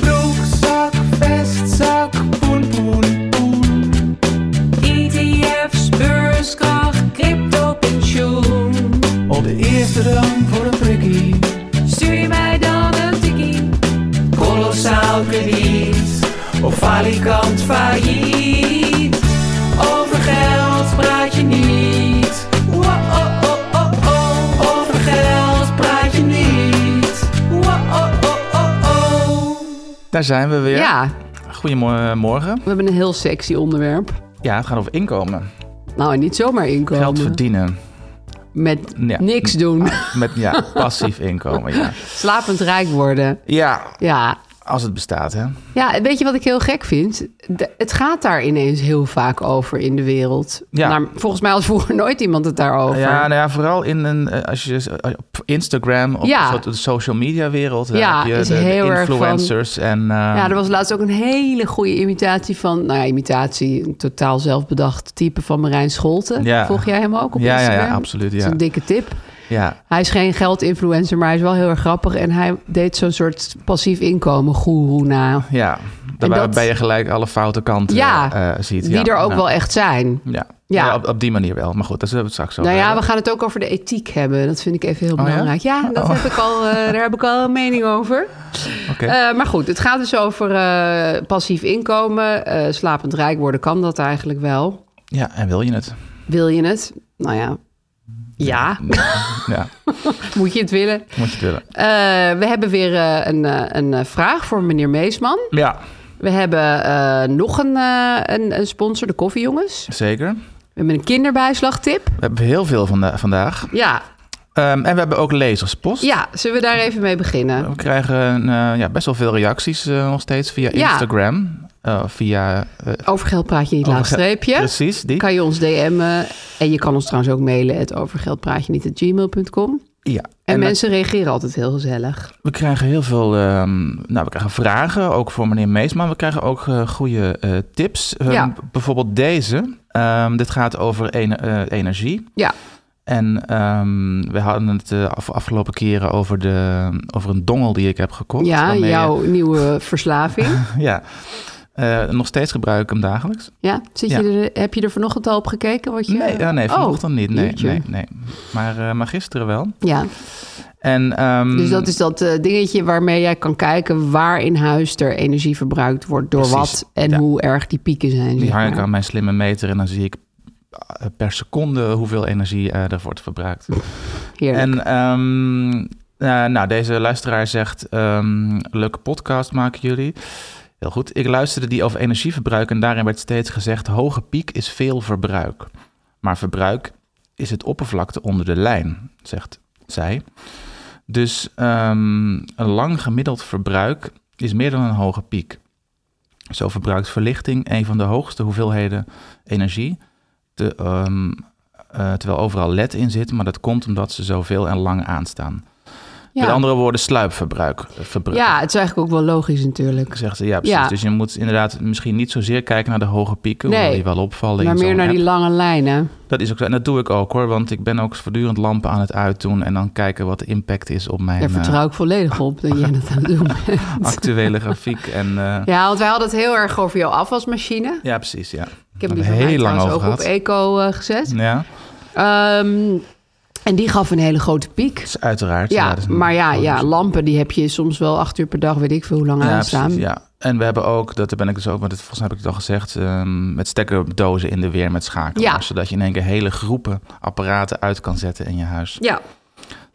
Broekzak, vestzak, poen, poen, poen. ETF's, beurskracht, crypto, pensioen. Op de eerste rang voor een prikkie. Stuur je mij dan een tikkie? Kolossaal krediet of falikant failliet. Over geld praat je niet. oh, Wow-oh-oh-oh-oh. oh. Over geld praat je niet. oh, Wow-oh-oh-oh-oh. Daar zijn we weer. Ja, Goedemorgen. we hebben een heel sexy onderwerp. Ja, het gaat over inkomen. Nou, en niet zomaar inkomen. Geld verdienen. Met Ja. niks doen. Met ja, passief inkomen. Ja. Slapend rijk worden. ja, Ja. als het bestaat, hè? ja, en weet je wat ik heel gek vind? De- het gaat daar ineens heel vaak over in de wereld. Ja. Maar volgens mij had vroeger nooit iemand het daarover. Ja, nou ja, vooral in een, eh, als je eh, op Instagram, op Ja. een soort de social media wereld, eh, Ja, heb je is de, de heel erg van- influencers en eh, Ja, er was laatst ook een hele goede imitatie van... Nou ja, imitatie, een totaal zelfbedacht type van Marijn Scholten. Ja. Volg jij hem ook op Ja, ja, ja, Instagram? absoluut, Dat is ja. een dikke tip. ja, Hij is geen geldinfluencer, maar hij is wel heel erg grappig. En hij deed zo'n soort passief inkomen goeroe na. ja, En dat- waarbij je gelijk alle foute kanten Ja, eh, ziet. Die ja, Nou, er ook ja. wel echt zijn. Ja, ja. Ja. op, op die manier wel. Maar goed, dat zullen we het straks over Nou ja, we hebben. gaan het ook over de ethiek hebben. Dat vind ik even heel ja? belangrijk. Ja, dat Oh. heb ik al, eh, daar heb ik al een mening over. Oké. Eh, maar goed, het gaat dus over eh, passief inkomen. Eh, slapend rijk worden, kan dat eigenlijk wel? Ja, en wil je het? Wil je het? Nou ja, ja, Ja, moet je het willen. moet je het willen. Eh, we hebben weer eh, een, eh, een eh, vraag voor meneer Meesman. Ja, We hebben eh, nog een, eh, een, een sponsor, de koffiejongens. zeker. We hebben een kinderbijslagtip. We hebben heel veel vanda- vandaag. Ja, Ehm, en we hebben ook lezerspost. ja, zullen we daar even mee beginnen? We krijgen eh, ja, best wel veel reacties eh, nog steeds via Ja. Instagram. eh, via... eh, Over geld praat je niet, Over laag geld- streepje. Precies, die. Kan je ons DM'en. En je kan ons trouwens ook mailen. Het overgeldpraatje niet gmail.com. En, Ja. dat- mensen reageren altijd heel gezellig. we krijgen heel veel ehm, nou, we krijgen vragen, ook voor meneer Meesman. We krijgen ook eh, goede eh, tips. Ehm, Ja. Bijvoorbeeld deze. Ehm, dit gaat over ene- eh, energie. Ja, En ehm, we hadden het de af- afgelopen keren over, de, over een dongel die ik heb gekocht. ja waarmee je- jouw nieuwe verslaving. ja. Eh, nog steeds gebruik ik hem dagelijks. Ja, zit Ja. Je er, heb je er vanochtend al op gekeken? Wat je, Nee, ja, nee Oh, vanochtend niet. Nee, jeetje. nee, nee. Maar, eh, maar gisteren wel. Ja, En, ehm, dus dat is dat eh, dingetje waarmee jij kan kijken waar in huis er energie verbruikt wordt, door Precies, wat en ja. hoe erg die pieken zijn. Die zeg hang ik maar. aan mijn slimme meter en dan zie ik eh, per seconde hoeveel energie eh, er wordt verbruikt. Heerlijk. En ehm, eh, nou, deze luisteraar zegt, ehm, leuke podcast maken jullie. Heel goed. Ik luisterde die over energieverbruik en daarin werd steeds gezegd, hoge piek is veel verbruik. Maar verbruik is het oppervlakte onder de lijn, zegt zij. Dus ehm, een lang gemiddeld verbruik is meer dan een hoge piek. Zo verbruikt verlichting een van de hoogste hoeveelheden energie. te- ehm, eh, terwijl overal LED in zit, maar dat komt omdat ze zoveel en lang aanstaan. ja. Met andere woorden, sluipverbruik. eh, verbruik. ja, het is eigenlijk ook wel logisch natuurlijk. Zegt ze, ja, precies. Ja. Dus je moet inderdaad misschien niet zozeer kijken naar de hoge pieken, Nee. hoewel die wel opvallen. Maar in meer zo'n naar die app. lange lijnen. Dat is ook zo. En dat doe ik ook hoor, want ik ben ook voortdurend lampen aan het uitdoen en dan kijken wat de impact is op mijn Daar eh, vertrouw ik volledig op dat jij dat aan het doen bent. actuele grafiek. En, eh, ja. Ja, want wij hadden het heel erg over jouw afwasmachine. precies. Ja. Ik heb Daar die hebben van we mij heel lang trouwens over ook op gehad. eco eh, gezet. Ja. eh, Ehm, En die gaf een hele grote piek. is uiteraard. Ja, dat is een- maar ja, gewoon ja, een- lampen die heb je soms wel acht uur per dag, weet ik veel hoe lang ja, aanstaan. precies, ja. En we hebben ook, dat ben ik dus ook, want het, volgens mij heb ik het al gezegd, ehm, met stekkerdozen in de weer met schakelaars. Ja. Zodat je in één keer hele groepen apparaten uit kan zetten in je huis. Ja,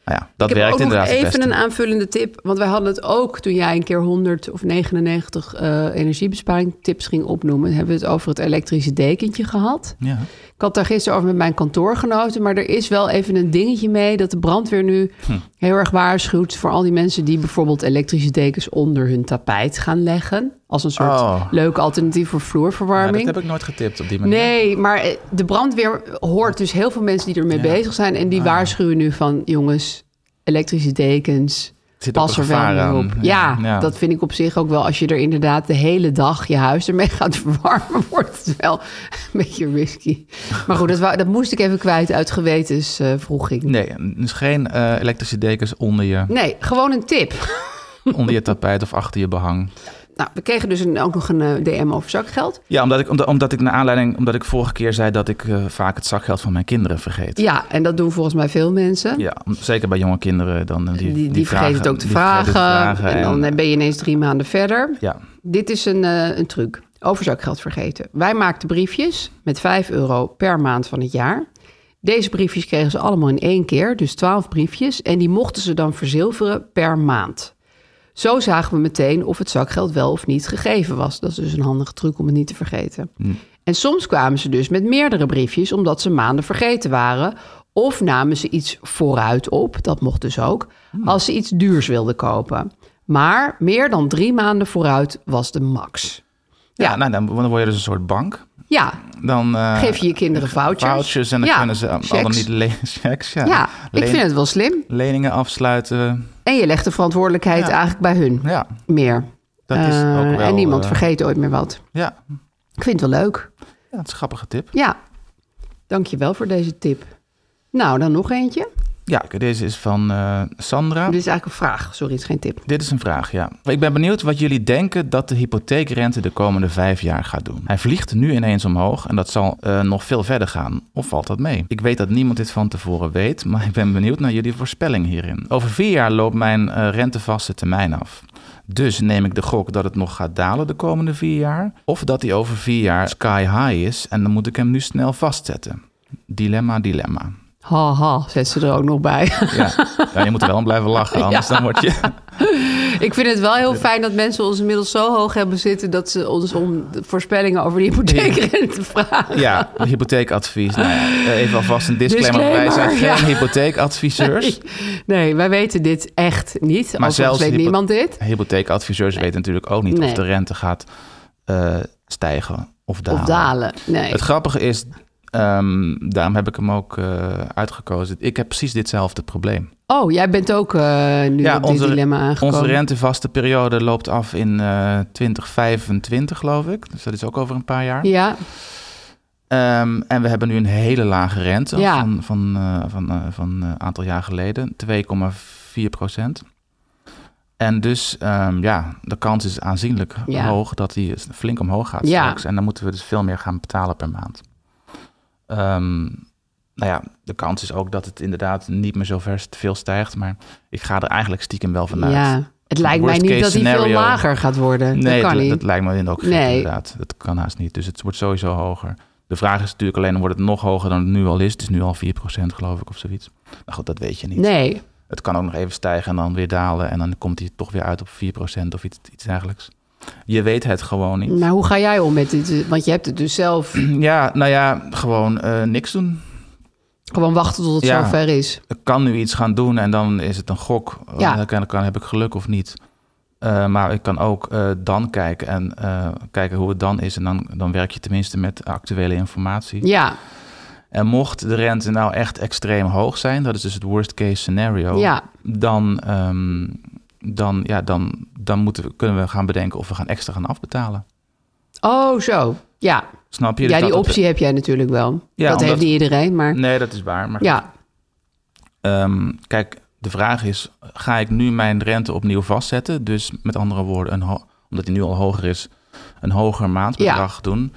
Nou ja, dat ik heb werkt ook nog inderdaad het even beste. een aanvullende tip. Want wij hadden het ook toen jij een keer 100 of 99 energiebesparing energiebesparingtips ging opnoemen. Hebben we het over het elektrische dekentje gehad. Ja. Ik had daar gisteren over met mijn kantoorgenoten. Maar er is wel even een dingetje mee dat de brandweer nu Hm. heel erg waarschuwt voor al die mensen die bijvoorbeeld elektrische dekens onder hun tapijt gaan leggen. Als een soort Oh. leuk alternatief voor Maar dat vloerverwarming. heb ik nooit getipt op die manier. Nee, maar eh, de brandweer hoort dus heel veel mensen die ermee Ja. Ah. bezig zijn. En die waarschuwen nu van, jongens, elektrische dekens, Zit ook pas een er wel gevaar mee aan. op. Ja, Ja, ja. dat vind ik op zich ook wel. Als je er inderdaad de hele dag je huis ermee gaat verwarmen, wordt het wel een beetje risky. Maar goed, dat, wou- dat moest ik even kwijt uit gewetensvroeging. Nee, dus geen eh, elektrische dekens onder je, nee, gewoon een tip. onder je tapijt of achter je behang. Nou, we kregen dus een, ook nog een eh, DM over zakgeld. Ja, omdat ik, omdat, omdat ik naar aanleiding, omdat ik vorige keer zei dat ik eh, vaak het zakgeld van mijn kinderen vergeet. Ja, en dat doen volgens mij veel mensen. Ja, om- zeker bij jonge kinderen dan. eh, Die, die, die, vragen- vergeet het ook te die vergeten vragen. te En dan en- ben je ineens drie maanden verder. Ja, Dit is een, eh, een truc. Over zakgeld vergeten. Wij maakten briefjes met 5 euro per maand van het jaar. Deze briefjes kregen ze allemaal in één keer, dus 12 briefjes. En die mochten ze dan verzilveren per maand. Zo zagen we meteen of het zakgeld wel of niet gegeven was. Dat is dus een handige truc om het niet te vergeten. Hm. En soms kwamen ze dus met meerdere briefjes omdat ze maanden vergeten waren. Of namen ze iets vooruit op, dat mocht dus ook, Hm. als ze iets duurs wilden kopen. Maar meer dan drie maanden vooruit was de max. ja. Ja. nou, dan dan word je dus een soort bank. Ja, Dan eh, geef je je kinderen vouchers. vouchers en dan Ja, kunnen ze al- al dan checks. niet le- checks. Ja, Ja, ik Leen- vind het wel slim. Leningen afsluiten. En je legt de verantwoordelijkheid Ja. eigenlijk bij hun Ja, meer. dat is Eh, ook wel... en niemand eh, vergeet ooit meer wat. Ja, Ik vind het wel leuk. ja, dat is een grappige tip. Ja, dankjewel voor deze tip. Nou, dan nog eentje. Ja, kijk, deze is van eh, Sandra. Dit is eigenlijk een vraag. Sorry, het is geen tip. Dit is een vraag, ja. Ik ben benieuwd wat jullie denken dat de hypotheekrente de komende vijf jaar gaat doen. Hij vliegt nu ineens omhoog en dat zal eh, nog veel verder gaan. Of valt dat mee? Ik weet dat niemand dit van tevoren weet, maar ik ben benieuwd naar jullie voorspelling hierin. Over vier jaar loopt mijn eh, rentevaste termijn af. Dus neem ik de gok dat het nog gaat dalen de komende vier jaar. Of dat hij over vier jaar sky high is en dan moet ik hem nu snel vastzetten. Dilemma, dilemma. Haha, ha, zet ze er ook nog bij. Ja, ja je moet er wel om blijven lachen, anders dan word je... Ik vind het wel heel fijn dat mensen ons inmiddels zo hoog hebben zitten... dat ze ons om de voorspellingen over die hypotheekrente vragen. Ja, hypotheekadvies. Nou ja, even alvast een disclaimer. Wij zijn geen Disclaimer, ja. hypotheekadviseurs. Nee, wij weten dit echt niet. Maar Maar zelfs zelfs weet hypo- niemand dit. Hypotheekadviseurs weten natuurlijk ook niet of Nee. de rente gaat eh, stijgen of dalen. Of dalen. Nee. Het grappige is, ehm, daarom heb ik hem ook eh, uitgekozen. Ik heb precies ditzelfde probleem. Oh, jij bent ook eh, nu op dit dilemma aangekomen. onze rentevaste periode loopt af in eh 2025, geloof ik. Dus dat is ook over een paar jaar. Ja, Ehm, en we hebben nu een hele lage rente Ja. van, van, eh, van, eh, van een aantal jaar geleden, 2,4 procent. En dus ehm, ja, de kans is aanzienlijk Ja. hoog dat die flink omhoog gaat Ja. straks. En dan moeten we dus veel meer gaan betalen per maand. Ehm, nou ja, de kans is ook dat het inderdaad niet meer zo ver veel stijgt. Maar ik ga er eigenlijk stiekem wel vanuit. ja. Nou, Het lijkt mij Worst niet case dat hij veel scenario. lager gaat worden. Nee, dat dat, kan niet. dat lijkt me ook gek, Nee. inderdaad. Dat kan haast niet. Dus het wordt sowieso hoger. De vraag is natuurlijk alleen, wordt het nog hoger dan het nu al is? Het is nu al 4% geloof ik of zoiets. Nou goed, dat weet je niet. Nee, Het kan ook nog even stijgen en dan weer dalen. En dan komt hij toch weer uit op 4% of iets, iets dergelijks. Je weet het gewoon niet. maar hoe ga jij om met dit? Want je hebt het dus zelf Ja, nou ja, gewoon eh, niks doen. gewoon wachten tot het Ja. zover is. Ik kan nu iets gaan doen en dan is het een gok. Eh, Ja. Dan kan, kan, heb ik geluk of niet. Eh, maar ik kan ook eh, dan kijken en eh, kijken hoe het dan is. En dan, dan werk je tenminste met actuele informatie. Ja, En mocht de rente nou echt extreem hoog zijn, dat is dus het worst case scenario, Ja. dan, ehm, dan, ja, dan, dan moeten we, kunnen we gaan bedenken of we gaan extra gaan afbetalen. oh zo. Ja, Snap je? Dus ja die dat- optie heb jij natuurlijk wel. Ja, dat heeft omdat- niet iedereen, maar Nee, dat is waar. Maar ja. Ehm, kijk, de vraag is: ga ik nu mijn rente opnieuw vastzetten? Dus met andere woorden, een ho- omdat die nu al hoger is, een hoger maandbedrag doen.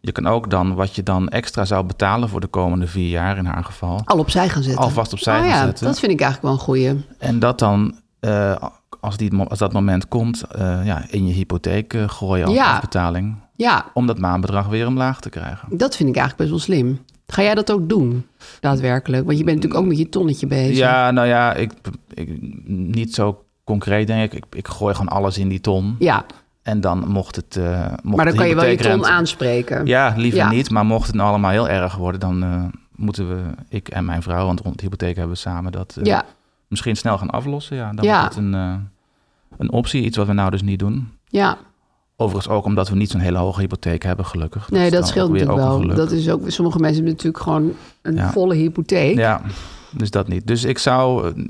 Je kan ook dan wat je dan extra zou betalen voor de komende vier jaar in haar geval. Al opzij gaan zetten. Alvast opzij oh, gaan ja, zetten. Dat vind ik eigenlijk wel een goeie. En dat dan, eh, als, die, mo- als dat moment komt, eh, ja, in je hypotheek eh, gooien als Ja. afbetaling. Ja, Om dat maandbedrag weer omlaag te krijgen. dat vind ik eigenlijk best wel slim. Ga jij dat ook doen, daadwerkelijk? Want je bent natuurlijk ook met je tonnetje bezig. Ja, nou ja, ik, ik, niet zo concreet denk ik. ik. Ik gooi gewoon alles in die ton. Ja, En dan mocht het. eh, mocht maar dan de kan je wel je ton hypotheekrente- aanspreken. Ja, liever Ja. niet. Maar mocht het nou allemaal heel erg worden, dan eh, moeten we, ik en mijn vrouw, want rond de hypotheek hebben we samen dat eh, ja, misschien snel gaan aflossen. Ja, dan Ja. wordt het een, eh, een optie. Iets wat we nou dus niet doen. ja. Overigens ook omdat we niet zo'n hele hoge hypotheek hebben, gelukkig. nee, is dat dan scheelt ook weer natuurlijk ook een wel. geluk. Dat is ook, sommige mensen hebben natuurlijk gewoon een Ja. volle hypotheek. Ja, dus dat niet. Dus ik zou, eh,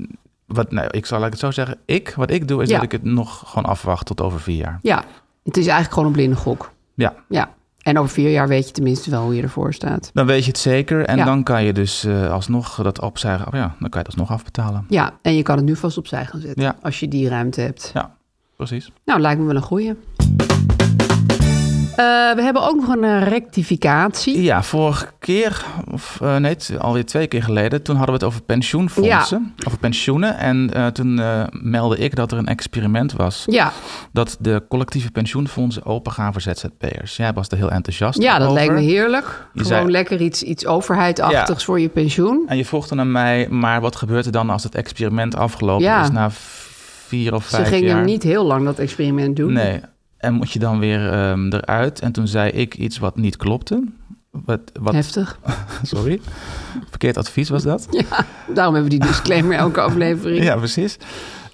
wat, nou, ik zal laat ik het zo zeggen, ik, wat ik doe is Ja. dat ik het nog gewoon afwacht tot over vier jaar. Ja, het is eigenlijk gewoon een blinde gok. Ja, Ja. En over vier jaar weet je tenminste wel hoe je ervoor staat. dan weet je het zeker. En Ja. dan kan je dus eh, alsnog dat opzij, oh ja, dan kan je het alsnog afbetalen. Ja, en je kan het nu vast opzij gaan zetten Ja. als je die ruimte hebt. Ja, precies. Nou, lijkt me wel een goeie. Eh, we hebben ook nog een eh, rectificatie. Ja, vorige keer, of eh, nee, t- alweer twee keer geleden, toen hadden we het over pensioenfondsen, over pensioenen. En eh, toen eh, meldde ik dat er een experiment was Ja, dat de collectieve pensioenfondsen open gaan voor ZZP'ers. Jij was er heel enthousiast ja dat over. lijkt me heerlijk. Je Gewoon zei- lekker iets, iets overheidachtigs voor je pensioen. En je vroeg toen aan mij, maar wat gebeurt er dan als het experiment afgelopen Ja. is na v- vier of vijf Ze jaar? gingen niet heel lang dat experiment doen. Nee, en moet je dan weer ehm, eruit? En toen zei ik iets wat niet klopte. Wat, wat, Heftig. sorry, verkeerd advies was dat. Daarom hebben we die disclaimer elke aflevering. Ja, precies.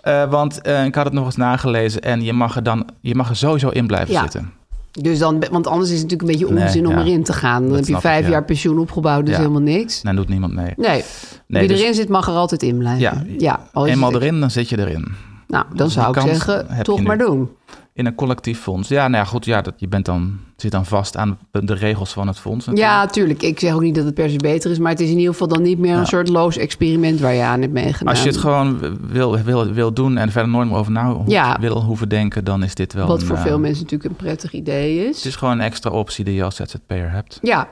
Eh, want eh, ik had het nog eens nagelezen en je mag er dan je mag er sowieso in blijven Ja. zitten. Dus dan, want anders is het natuurlijk een beetje Nee, onzin om ja. erin te gaan. Dan Dat heb je snap ik, vijf ja. jaar pensioen opgebouwd, dus Ja. helemaal niks. En dan doet niemand mee. Nee, Nee, wie dus- erin zit mag er altijd in blijven. Ja, al is Eenmaal het- erin, dan zit je erin. Nou, dan zou ik kans heb je zeggen, toch nu. maar doen. In een collectief fonds. Ja, nou ja, goed, ja, dat, je bent dan, zit dan vast aan de regels van het fonds. natuurlijk. Ja, tuurlijk. Ik zeg ook niet dat het per se beter is, maar het is in ieder geval dan niet meer een soort loos experiment waar je aan hebt meegenomen. Als je het gewoon wil, wil, wil doen en verder nooit meer over na ho- Ja. wil hoeven denken, dan is dit wel Wat een, voor veel eh, mensen natuurlijk een prettig idee is. Het is gewoon een extra optie die je als ZZP'er hebt. Ja.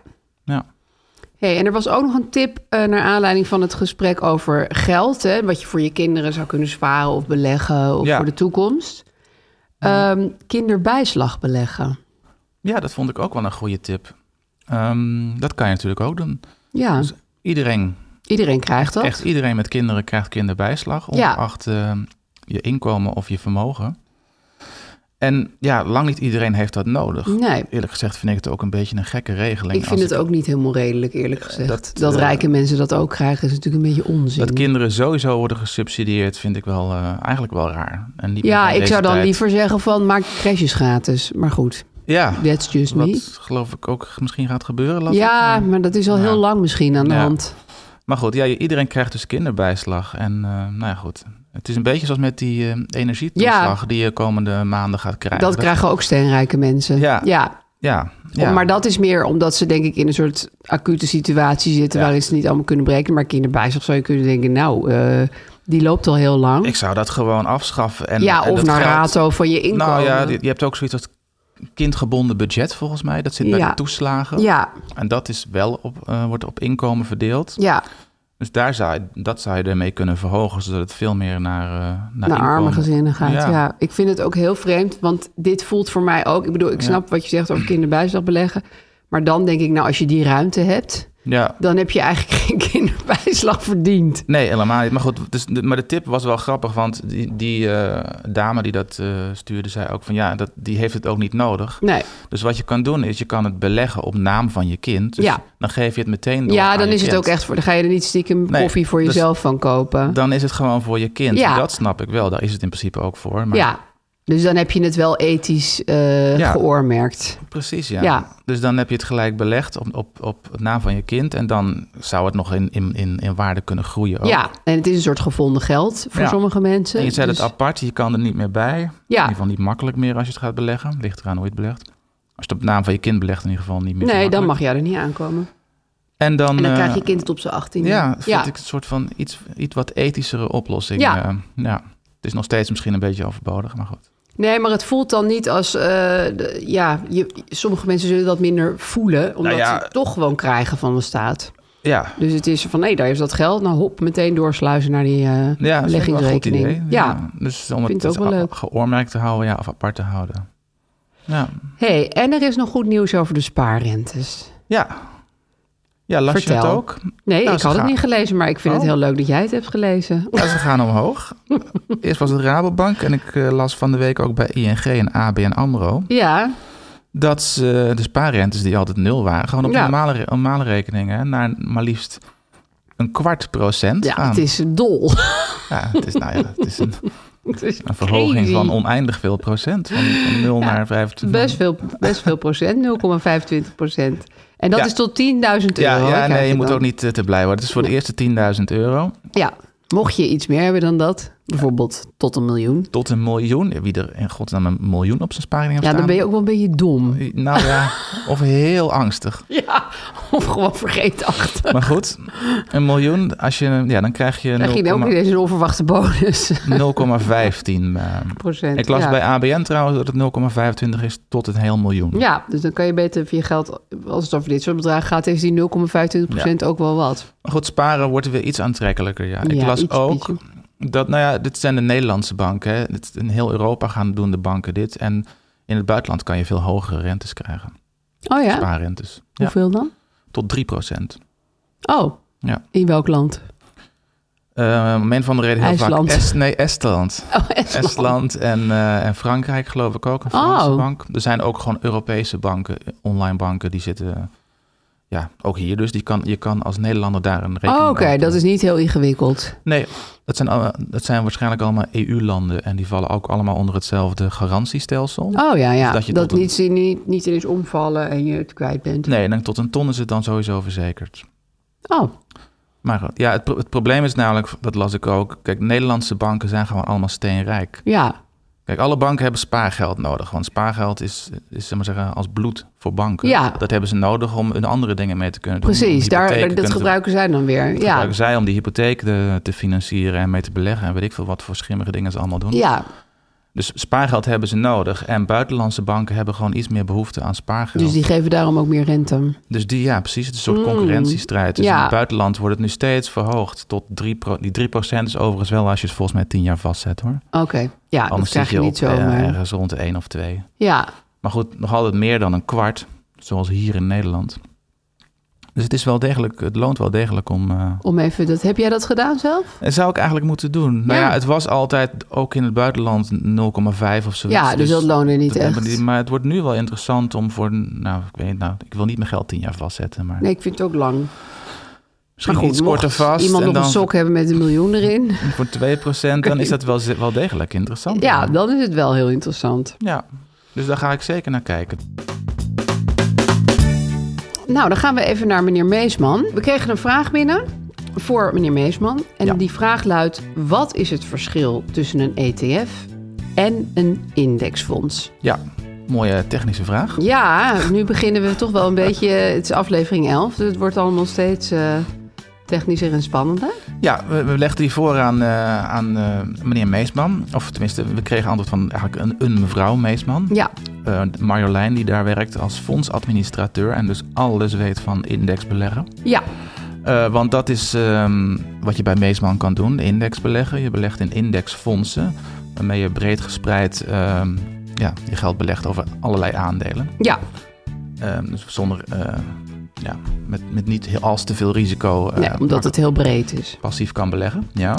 Ja. Hey, en er was ook nog een tip eh, naar aanleiding van het gesprek over geld. Hè, wat je voor je kinderen zou kunnen sparen of beleggen of Ja. voor de toekomst. Ehm, kinderbijslag beleggen. ja, dat vond ik ook wel een goede tip. Ehm, dat kan je natuurlijk ook doen. Dus Ja, Iedereen, iedereen krijgt dat. echt iedereen met kinderen krijgt kinderbijslag, Ja. ongeacht eh, je inkomen of je vermogen. En ja, lang niet iedereen heeft dat nodig. Nee. Eerlijk gezegd vind ik het ook een beetje een gekke regeling. Ik vind als het ook niet helemaal redelijk, eerlijk gezegd. Dat, dat, eh, rijke mensen dat ook krijgen is natuurlijk een beetje onzin. Dat kinderen sowieso worden gesubsidieerd, vind ik wel eh, eigenlijk wel raar. En niet meer ja, van ik deze zou dan tijd. liever zeggen van maak crashes gratis. Maar goed, Ja, that's just wat me. geloof ik ook misschien gaat gebeuren. las dus Ja, ik. Maar- maar dat is al heel lang misschien aan de Ja. hand. Maar goed, ja, iedereen krijgt dus kinderbijslag. En eh, nou ja, goed. Het is een beetje zoals met die eh, energietoeslag die je komende maanden gaat krijgen. Dat krijgen ook steenrijke mensen. Ja. Ja, ja. Maar dat is meer omdat ze denk ik in een soort acute situatie zitten... Ja. waarin ze niet allemaal kunnen breken. Maar kinderbijslag zou je kunnen denken, nou, eh, die loopt al heel lang. Ik zou dat gewoon afschaffen. En, ja, en of dat naar geld- rato van je inkomen. Nou ja, je hebt ook zoiets als kindgebonden budget volgens mij. Dat zit bij Ja. de toeslagen. ja, En dat is wel op, eh, wordt op inkomen verdeeld. ja. Dus daar zou, je- dat zou je ermee kunnen verhogen, zodat het veel meer naar, eh, naar, naar inkomen- arme gezinnen gaat. Ja. ja. ik vind het ook heel vreemd, want dit voelt voor mij ook. Ik bedoel, ik snap wat je zegt over kinderbijslag beleggen. Maar dan denk ik, nou, als je die ruimte hebt, Ja. dan heb je eigenlijk geen kinderbijslag verdiend. Nee, helemaal niet. Maar goed, dus, de- maar de tip was wel grappig, want die, die eh, dame die dat eh, stuurde, zei ook van ja, dat, die heeft het ook niet nodig. Nee. Dus wat je kan doen is, je kan het beleggen op naam van je kind. Dus Ja. dan geef je het meteen door ja, aan dan je is het kind. ook echt voor. Dan ga je er niet stiekem Nee, koffie voor dus- jezelf van kopen. Dan is het gewoon voor je kind. Ja. Dat snap ik wel. Daar is het in principe ook voor. Maar Ja, dus dan heb je het wel ethisch eh, Ja. geoormerkt. Precies, ja. Ja. Dus dan heb je het gelijk belegd op, op, op het naam van je kind. En dan zou het nog in, in, in, in waarde kunnen groeien. Ook. Ja, en het is een soort gevonden geld voor Ja. sommige mensen. En je zet Dus- het apart, je kan er niet meer bij. In Ja. ieder geval niet makkelijk meer als je het gaat beleggen. Ligt eraan hoe je het belegt. Als je het op naam van je kind belegt, in ieder geval niet meer. zo Nee, dan mag makkelijk. jij er niet aankomen. En dan, En dan krijg je eh, kind het op zijn 18. Ja, vind ik een soort van iets, iets wat ethischere oplossing. Ja. eh, ja. Het is nog steeds misschien een beetje overbodig, maar goed. Nee, maar het voelt dan niet als... eh, de- ja, je, sommige mensen zullen dat minder voelen... omdat Nou ja, ze het toch gewoon krijgen van de staat. Ja, Dus het is van, hé, daar is dat geld. Nou, hop, meteen doorsluizen naar die eh ja dat is wel een goed beleggingsrekening. idee. ja, Dus om vind het, het ook dus wel a- leuk. geoormerkt te houden ja, of apart te houden. Ja, Hey, en er is nog goed nieuws over de spaarrentes. ja. ja las je het Vertel. ook? Nee, Nou, ik ze had het gaan- niet gelezen, maar ik vind Oh. het heel leuk dat jij het hebt gelezen. Ja, ze gaan omhoog. Eerst was het Rabobank en ik eh, las van de week ook bij ING en ABN AMRO... Ja, dat ze de spaarrentes die altijd nul waren... gewoon op Ja. normale, re- normale rekeningen naar maar liefst een kwart procent ja gaan. het is dol. Ja, het is, nou ja, het is een, het is een verhoging crazy. van oneindig veel procent. Van, van 0 Ja, naar 25. Best veel, best veel procent, 0,25 procent. En dat Ja. is tot 10.000 euro. Ja, hè, ja krijg nee, je moet dan. ook niet eh, te blij worden. Het is voor de eerste 10.000 euro Ja, mocht je iets meer hebben dan dat, bijvoorbeeld tot een miljoen. tot een miljoen. Wie er in godsnaam een miljoen op zijn spaarrekening heeft Ja, dan ben je ook wel een beetje dom. staan. Nou ja, of heel angstig. Ja, of gewoon vergeetachtig. Maar goed, een miljoen, als je, ja, dan krijg je, Krijg je dan ook niet eens een onverwachte bonus. 0,15 eh, Procent, Ik las ja. bij ABN trouwens dat het 0,25 is tot een heel miljoen. Ja, dus dan kan je beter via geld, als het over dit soort bedragen gaat, is die 0,25 procent ook wel wat. Maar goed, sparen wordt weer iets aantrekkelijker. Ja. Ik Ja, las iets, ook beetje. dat, nou ja, dit zijn de Nederlandse banken. Hè. Dit- In heel Europa gaan doen de banken dit. En in het buitenland kan je veel hogere rentes krijgen. Oh ja, Spaarrentes. Ja, hoeveel dan? tot 3 procent. Oh, Ja. in welk land? Eh, om een van de reden heel IJsland. vaak... Est, nee, Estland. Oh, Estland. Estland en, eh, en Frankrijk geloof ik ook, een Franse Oh. bank. Er zijn ook gewoon Europese banken, online banken, die zitten... Ja, ook hier dus. Die kan, je kan als Nederlander daar een rekening Oh, Oké, openen. dat is niet heel ingewikkeld. Nee, dat zijn, alle- dat zijn waarschijnlijk allemaal EU-landen. En die vallen ook allemaal onder hetzelfde garantiestelsel. Oh ja, ja. Dus Dat Dat, je tot niet, niet, niet ineens omvallen en je het kwijt bent. Nee, en dan tot een ton is het dan sowieso verzekerd. Oh, Maar goed, ja, het, pro- het probleem is namelijk, dat las ik ook. Kijk, Nederlandse banken zijn gewoon allemaal steenrijk. ja. Kijk, alle banken hebben spaargeld nodig. Want spaargeld is, is zeg maar zeggen, als bloed voor banken. Ja. Dat hebben ze nodig om hun andere dingen mee te kunnen doen. Precies, Hypotheken daar, dat kunnen ze- gebruiken zij dan weer. dat Ja. gebruiken zij om die hypotheek te, te financieren en mee te beleggen. En weet ik veel wat voor schimmige dingen ze allemaal doen. ja, Dus spaargeld hebben ze nodig. En buitenlandse banken hebben gewoon iets meer behoefte aan spaargeld. dus die geven daarom ook meer rente. Dus die, ja, precies. Het is een soort concurrentiestrijd. Dus ja. in het buitenland wordt het nu steeds verhoogd tot 3%. pro- Die 3% is overigens wel als je het volgens mij 10 jaar vastzet hoor. Oké, ja, dat Anders krijg zit je je op niet eh, zomaar. Ja, ergens rond de 1 of 2. Maar goed, nog altijd meer dan een kwart, zoals hier in Nederland. Dus het is wel degelijk, het loont wel degelijk om. eh, om even dat. Heb jij dat gedaan zelf? en zou ik eigenlijk moeten doen? Nou Ja. ja, het was altijd ook in het buitenland 0,5 of zo. ja, dus dat loonde niet dat- echt. Maar het wordt nu wel interessant om voor, nou, ik weet het nou, ik wil niet mijn geld 10 jaar vastzetten, maar Nee, ik vind het ook lang. misschien iets mocht korter vast. Iemand en nog dan een sok hebben met een miljoen erin. voor 2%, dan is dat wel, ze- wel degelijk interessant. Ja, dan is het wel heel interessant. ja, dus daar ga ik zeker naar kijken. Nou, dan gaan we even naar meneer Meesman. We kregen een vraag binnen voor meneer Meesman. En Ja. die vraag luidt: wat is het verschil tussen een ETF en een indexfonds? Ja, mooie technische vraag. Ja, nu beginnen we toch wel een beetje. Het is aflevering 11, dus het wordt allemaal steeds eh, technischer en spannender. Ja, we, we legden die voor aan, eh, aan eh, meneer Meesman. Of tenminste, we kregen antwoord van eigenlijk een, een mevrouw Meesman. Ja, Eh, Marjolein, die daar werkt als fondsadministrateur en dus alles weet van indexbeleggen. ja, Eh, want dat is ehm, wat je bij Meesman kan doen, indexbeleggen. Je belegt in indexfondsen, waarmee je breed gespreid ehm, ja, je geld belegt over allerlei aandelen. ja, Ehm, dus zonder, eh, ja, met, met niet heel, als te veel risico. eh, nee, omdat maar het heel breed is. passief kan beleggen, ja.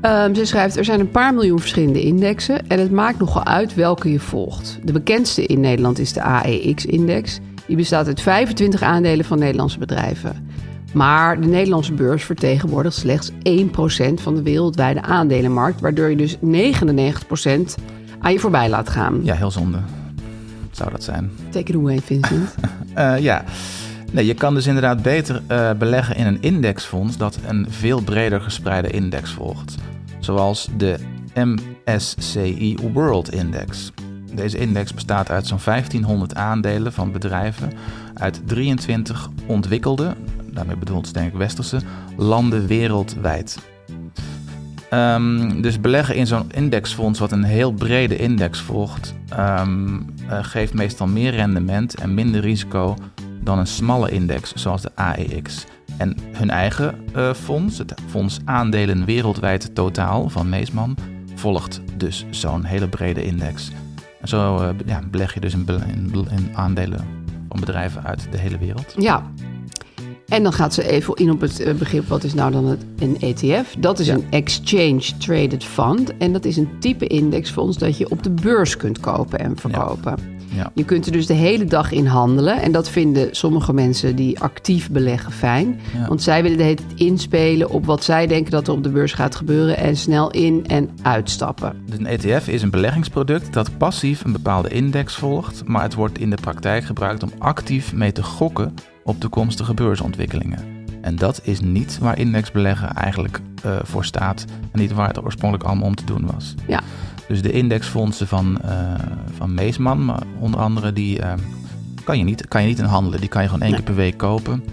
Ehm, ze schrijft, er zijn een paar miljoen verschillende indexen en het maakt nogal uit welke je volgt. De bekendste in Nederland is de AEX-index. Die bestaat uit 25 aandelen van Nederlandse bedrijven. Maar de Nederlandse beurs vertegenwoordigt slechts 1% van de wereldwijde aandelenmarkt, waardoor je dus 99% aan je voorbij laat gaan. Ja, heel zonde. Zou dat zijn. Take it away, Vincent. Eh, ja. Nee, je kan dus inderdaad beter eh, beleggen in een indexfonds dat een veel breder gespreide index volgt. Zoals de MSCI World Index. Deze index bestaat uit zo'n 1500 aandelen van bedrijven uit 23 ontwikkelde, daarmee bedoeld denk ik westerse, landen wereldwijd. Eh, Ehm, dus beleggen in zo'n indexfonds, wat een heel brede index volgt, ehm, eh, geeft meestal meer rendement en minder risico dan een smalle index, zoals de AEX. En hun eigen eh, fonds, het Fonds Aandelen Wereldwijd Totaal van Meesman, volgt dus zo'n hele brede index. En zo eh, ja, beleg je dus in, bele- in bele- in aandelen van bedrijven uit de hele wereld. Ja. En dan gaat ze even in op het eh, begrip wat is nou dan het, een ETF. Dat is een Exchange Traded Fund. En dat is een type indexfonds dat je op de beurs kunt kopen en verkopen. Ja. Je kunt er dus de hele dag in handelen. En dat vinden sommige mensen die actief beleggen fijn. Ja. Want zij willen de hele tijd inspelen op wat zij denken dat er op de beurs gaat gebeuren. En snel in en uitstappen. Dus een ETF is een beleggingsproduct dat passief een bepaalde index volgt, maar het wordt in de praktijk gebruikt om actief mee te gokken op toekomstige beursontwikkelingen. En dat is niet waar indexbeleggen eigenlijk eh, voor staat en niet waar het oorspronkelijk allemaal om te doen was. Ja. Dus de indexfondsen van, eh, van Meesman, maar onder andere, die eh, kan, je niet, kan je niet in handelen. Die kan je gewoon één Nee. keer per week kopen.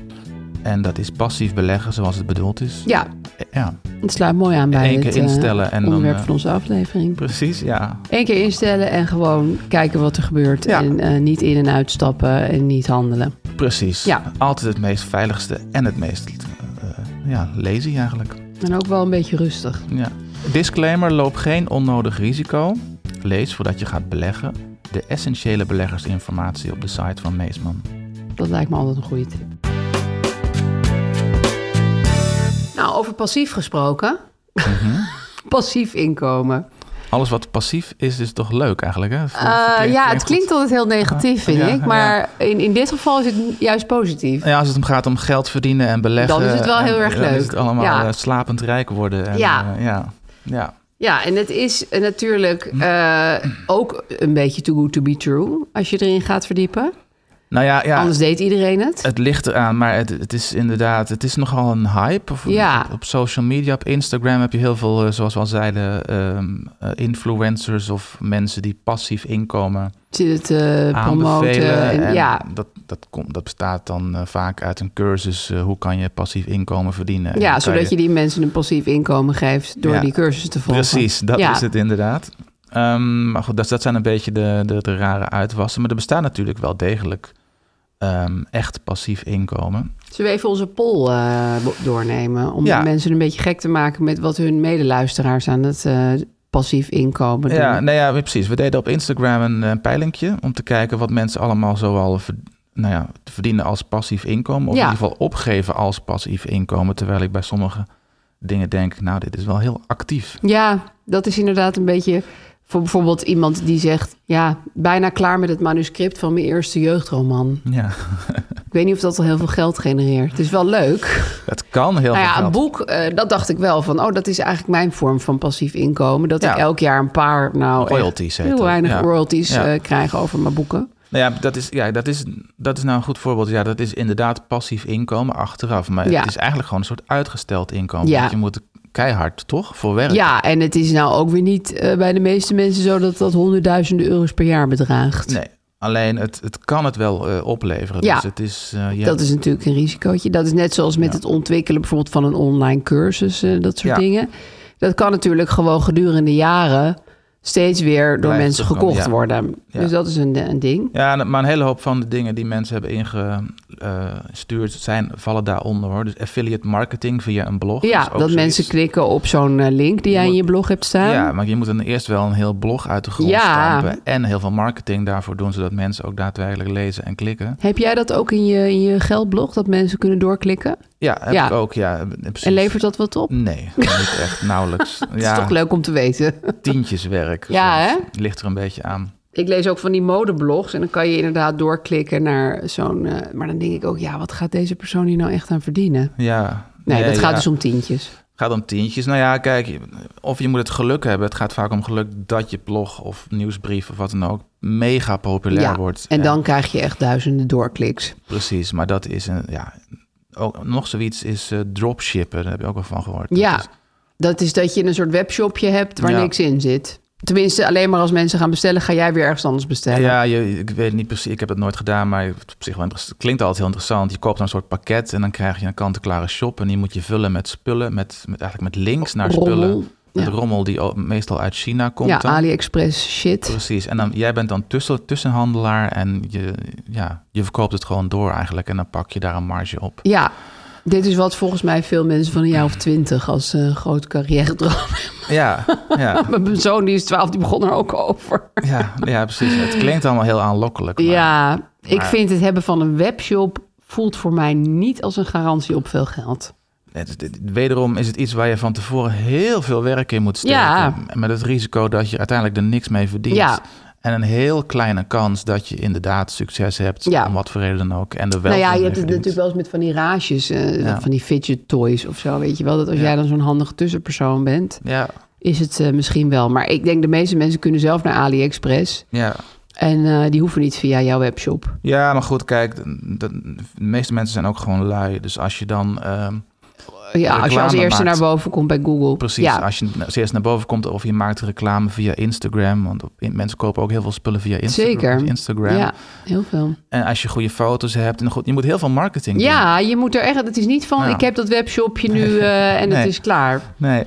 En dat is passief beleggen zoals het bedoeld is. Ja, Ja, het sluit mooi aan bij Eén keer het eh, instellen en dan, onderwerp eh, van onze aflevering. precies. Ja, Eén keer instellen en gewoon kijken wat er gebeurt. Ja. En eh, niet in- en uitstappen en niet handelen. Precies. Ja. Altijd het meest veiligste en het meest eh, ja, lazy eigenlijk. En ook wel een beetje rustig. Ja. Disclaimer, loop geen onnodig risico. Lees voordat je gaat beleggen de essentiële beleggersinformatie op de site van Meesman. Dat lijkt me altijd een goede tip. Nou, over passief gesproken. Mhm. passief inkomen. Alles wat passief is, is toch leuk eigenlijk, hè? Eh, ja, het klinkt altijd heel negatief, vind Ja, ik. ja. Maar in, in dit geval is het juist positief. Ja, als het om gaat om geld verdienen en beleggen... Dan is het wel en- heel erg Dan leuk. is het allemaal Ja. eh, slapend rijk worden. En, Ja. eh, ja. Ja. Ja, en het is eh, natuurlijk Hm. eh, ook een beetje too good to be true... als je erin gaat verdiepen. Nou ja, ja. Anders deed iedereen het. Het ligt eraan, maar het, het is inderdaad, het is nogal een hype. Of Ja. op, op social media, op Instagram heb je heel veel, eh, zoals we al zeiden, ehm, eh, influencers of mensen die passief inkomen zit het eh, promoten. aanbevelen. En, En ja, dat, dat, komt, dat bestaat dan eh, vaak uit een cursus, eh, hoe kan je passief inkomen verdienen. En dan ja, kan zodat je die mensen een passief inkomen geeft door Ja, die cursus te volgen. Precies, dat Ja. is het inderdaad. Ehm, maar goed, dat, dat zijn een beetje de, de, de rare uitwassen. Maar er bestaat natuurlijk wel degelijk ehm, echt passief inkomen. Zullen we even onze poll eh, bo- doornemen? Om Ja. de mensen een beetje gek te maken met wat hun medeluisteraars aan het eh, passief inkomen doen. Ja, nou ja, we- precies. We deden op Instagram een eh, peilingje om te kijken wat mensen allemaal zoal ver- nou ja, te verdienen als passief inkomen. Of Ja. in ieder geval opgeven als passief inkomen. Terwijl ik bij sommige dingen denk, nou, dit is wel heel actief. Ja, dat is inderdaad een beetje... Voor bijvoorbeeld iemand die zegt... ja, bijna klaar met het manuscript van mijn eerste jeugdroman. Ja, Ik weet niet of dat al heel veel geld genereert. Het is wel leuk. het kan heel nou veel ja, geld. een boek, eh, dat dacht ik wel van, oh, dat is eigenlijk mijn vorm van passief inkomen. Dat Ja. ik elk jaar een paar, nou, echt Royalties heet heel dat, weinig ja. royalties Ja. eh, krijg over mijn boeken. Nou ja, dat is, ja dat, is, dat is nou een goed voorbeeld. Ja, dat is inderdaad passief inkomen achteraf. Maar Ja. het is eigenlijk gewoon een soort uitgesteld inkomen. Ja. Want je moet keihard, toch, voor werken. Ja, en het is nou ook weer niet eh, bij de meeste mensen zo dat dat honderdduizenden euro's per jaar bedraagt. Nee, alleen het, het kan het wel eh, opleveren. Ja. Dus het is... eh, je Dat is natuurlijk een risicootje. Dat is net zoals met Ja. het ontwikkelen bijvoorbeeld van een online cursus, eh, dat soort Ja. dingen. Dat kan natuurlijk gewoon gedurende jaren steeds weer door Blijft mensen terugkomen, gekocht ja. worden. Ja. Dus dat is een, een ding. Ja, en- maar een hele hoop van de dingen die mensen hebben ingestuurd zijn, vallen daaronder hoor. Dus affiliate marketing via een blog. Ja, is ook dat zoiets. mensen klikken op zo'n eh, link die jij in je blog hebt staan. Ja, maar je moet dan eerst wel een heel blog uit de grond Ja. stampen. En heel veel marketing daarvoor doen, zodat mensen ook daadwerkelijk lezen en klikken. Heb jij dat ook in je, in je geldblog, dat mensen kunnen doorklikken? Ja, heb Ja. ik ook. Ja, precies. En levert dat wat op? Nee, niet echt, nauwelijks. Het ja, is toch leuk om te weten. tientjeswerk. Ja, soms. Ligt er een beetje aan. Ik lees ook van die modeblogs en dan kan je inderdaad doorklikken naar zo'n... eh, maar dan denk ik ook, ja, wat gaat deze persoon hier nou echt aan verdienen? Ja. Nee, dat gaat ja. dus om tientjes. gaat om tientjes. Nou ja, kijk, of je moet het geluk hebben. Het gaat vaak om geluk dat je blog of nieuwsbrief of wat dan ook mega populair Ja, wordt. en dan krijg je echt duizenden doorkliks. Precies, maar dat is een, ja... Ook, nog zoiets is eh, dropshippen, daar heb je ook wel van gehoord. Dat ja, is- dat is dat je een soort webshopje hebt waar Ja. niks in zit. Tenminste, alleen maar als mensen gaan bestellen, ga jij weer ergens anders bestellen. ja, je, ik weet niet precies, ik heb het nooit gedaan, maar het is op zich wel interess- het klinkt altijd heel interessant. Je koopt dan een soort pakket en dan krijg je een kant-en-klare shop en die moet je vullen met spullen, met, met eigenlijk met links naar Rommel. spullen. Met Ja. rommel die o- meestal uit China komt. Ja, dan. AliExpress shit. Precies. En dan, jij bent dan tussen, tussenhandelaar en je, ja, je verkoopt het gewoon door eigenlijk. En dan pak je daar een marge op. Ja, dit is wat volgens mij veel mensen van een jaar of twintig als eh, een groot carrière droom hebben. Ja, ja, Mijn zoon die is twaalf, die begon er ook over. ja, ja, precies. Het klinkt allemaal heel aanlokkelijk. Maar, ja, ik maar- vind het hebben van een webshop voelt voor mij niet als een garantie op veel geld. Het, is- dit- wederom is het iets waar je van tevoren heel veel werk in moet steken. Ja. Met het risico dat je uiteindelijk er niks mee verdient. Ja. En een heel kleine kans dat je inderdaad succes hebt. Ja. Om wat voor reden dan ook. En er wel Nou veel ja, je mee hebt het verdient. natuurlijk wel eens met van die raasjes, eh, Ja. van die fidget toys of zo, weet je wel. Dat als jij dan zo'n handige tussenpersoon bent, Ja, is het eh, misschien wel. Maar ik denk de meeste mensen kunnen zelf naar AliExpress ja. en eh, die hoeven niet via jouw webshop. ja, maar goed, kijk. De, de- de meeste mensen zijn ook gewoon lui. Dus als je dan... ehm, Ja, als je als Reclame eerste maakt. naar boven komt bij Google. Precies, Ja. als je als eerst naar boven komt of je maakt reclame via Instagram. Want op, in- mensen kopen ook heel veel spullen via Insta- Zeker. Instagram. Ja, heel veel. En als je goede foto's hebt. En goed, je moet heel veel marketing doen. Ja, je moet er echt... Het is niet van, Ja. ik heb dat webshopje nu eh, en Nee. het is klaar. Nee,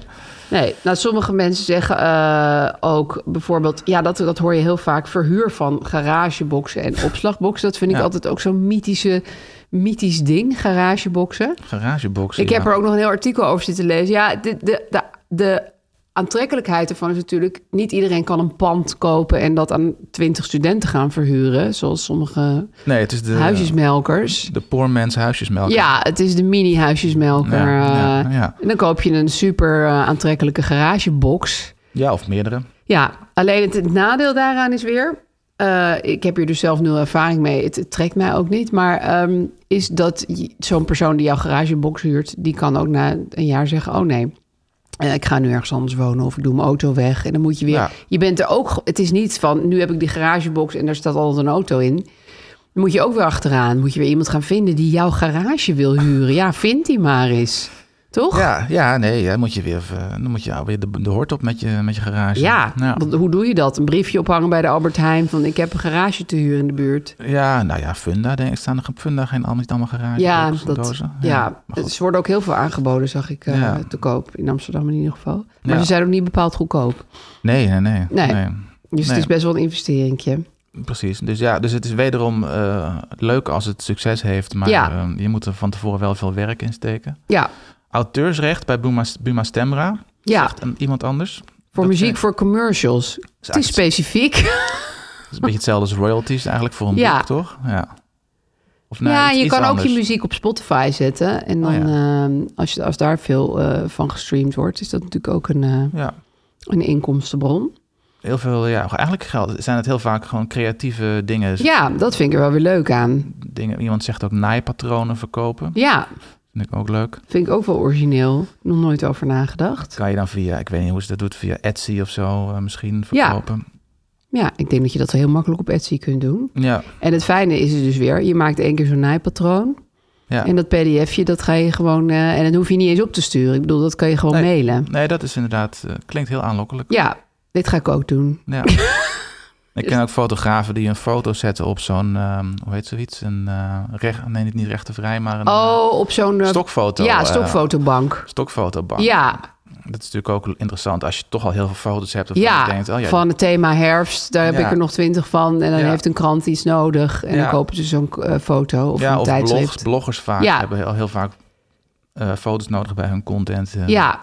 Nee, nou, sommige mensen zeggen eh, ook bijvoorbeeld... Ja, dat, dat hoor je heel vaak. Verhuur van garageboxen en opslagboxen. Dat vind ik Ja. altijd ook zo'n mythische, mythisch ding, garageboxen. garageboxen. Ik heb ja. er ook nog een heel artikel over zitten lezen. Ja, de, de, de, de aantrekkelijkheid ervan is natuurlijk... niet iedereen kan een pand kopen en dat aan twintig studenten gaan verhuren... zoals sommige Nee, het is de... huisjesmelkers. De poor man's huisjesmelk. Ja, het is de mini-huisjesmelker. Ja, ja, eh. ja. En dan koop je een super eh, aantrekkelijke garagebox. Ja, of meerdere. Ja, alleen het, het nadeel daaraan is weer... eh, ik heb hier dus zelf nul ervaring mee. Het, het trekt mij ook niet. Maar ehm, is dat je- zo'n persoon die jouw garagebox huurt... die kan ook na een jaar zeggen... oh nee, eh, ik ga nu ergens anders wonen... of ik doe mijn auto weg. En dan moet je weer... Ja. Je bent er ook... ge- Het is niet van... nu heb ik die garagebox en daar staat altijd een auto in. Dan moet je ook weer achteraan. Moet je weer iemand gaan vinden die jouw garage wil huren. Ja, vind die maar eens. Toch? Ja, ja nee, ja, moet je weer, even- dan moet je ja, weer de, de hort op met je, met je garage. Ja, ja. want hoe doe je dat? Een briefje ophangen bij de Albert Heijn van ik heb een garage te huur in de buurt. Ja, nou ja, Funda, denk ik. Staan er op Funda geen allemaal, niet allemaal garage Ja, boxen, dat, dozen? ja. maar goed. ze worden ook heel veel aangeboden, zag ik eh, Ja. te koop in Amsterdam in ieder geval. Maar Ja. ze zijn ook niet bepaald goedkoop. Nee, nee, nee. Nee. Nee. Dus het is best wel een investeringje. Precies. Dus ja, dus het is wederom eh, leuk als het succes heeft, maar Ja. eh, je moet er van tevoren wel veel werk in steken. Ja, Auteursrecht bij Buma, Buma Stemra, ja. zegt een- iemand anders. voor dat muziek, zijn- voor commercials. Het is eigenlijk- specifiek. Dat is een beetje hetzelfde als royalties eigenlijk voor een Ja. boek, toch? Ja. Of ja, iets- je iets kan ook je anders. muziek op Spotify zetten. En dan, Oh ehm, als, je, als daar veel eh, van gestreamd wordt, is dat natuurlijk ook een, eh, Ja, een inkomstenbron. heel veel, ja, eigenlijk geld, zijn het heel vaak gewoon creatieve dingen. Ja, dat vind ik er wel weer leuk aan. dingen iemand zegt ook naaipatronen verkopen. Ja, Vind ik ook leuk. Vind ik ook wel origineel. Nog nooit over nagedacht. Kan je dan via, ik weet niet hoe ze dat doet, via Etsy of zo eh, misschien Ja. verkopen. Ja, ik denk dat je dat wel heel makkelijk op Etsy kunt doen. Ja, En het fijne is het dus weer, je maakt één keer zo'n naaipatroon. ja. En dat pdfje, dat ga je gewoon... eh, en dat hoef je niet eens op te sturen. Ik bedoel, dat kan je gewoon Nee. mailen. Nee, dat is inderdaad, eh, klinkt heel aanlokkelijk. Ja, dit ga ik ook doen. Ja. ik ken ook fotografen die een foto zetten op zo'n, ehm, hoe heet zoiets? Een eh recht, nee, niet- niet rechtenvrij, maar een eh, Oh, op zo'n... eh, stokfoto. Ja, eh, stokfotobank. stokfotobank. Ja, Dat is natuurlijk ook interessant als je toch al heel veel foto's hebt. Of ja, je denkt, oh ja, van het thema herfst. Daar heb Ja. ik er nog twintig van. En dan Ja. heeft een krant iets nodig. En Ja. dan kopen ze zo'n eh, foto of ja, een of tijdschrift. bloggers, bloggers vaak Ja. hebben al heel vaak eh, foto's nodig bij hun content. eh, Ja,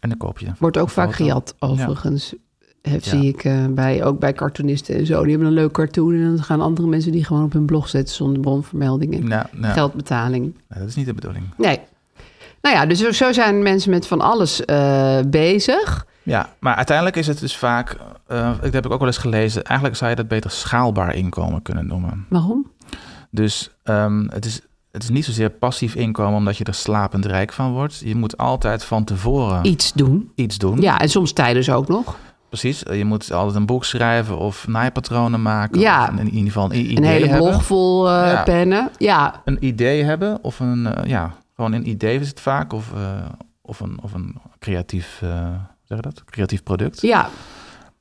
En dan koop je. Wordt ook een vaak foto. gejat, overigens. Heb, Ja. Zie ik eh, bij, ook bij cartoonisten en zo. Die hebben een leuk cartoon. En dan gaan andere mensen die gewoon op hun blog zetten zonder bronvermelding en Nou, nou, geldbetaling. nou, dat is niet de bedoeling. Nee. Nou ja, dus zo- zo zijn mensen met van alles eh, bezig. Ja, maar uiteindelijk is het dus vaak, eh, dat heb ik ook wel eens gelezen, eigenlijk zou je dat beter schaalbaar inkomen kunnen noemen. Waarom? Dus ehm, het, is, het is niet zozeer passief inkomen omdat je er slapend rijk van wordt. Je moet altijd van tevoren Ah. Iets doen. iets doen. Ja, en soms tijdens ook nog. Precies, je moet altijd een boek schrijven of naaipatronen maken. Ja. Of in, in ieder geval een, i- idee Een hele hebben. blog vol eh, Ja. pennen. Ja, een idee hebben of een, eh, ja, gewoon een idee is het vaak of, eh, of, een, of een creatief, eh, hoe zeg je dat? creatief product. ja,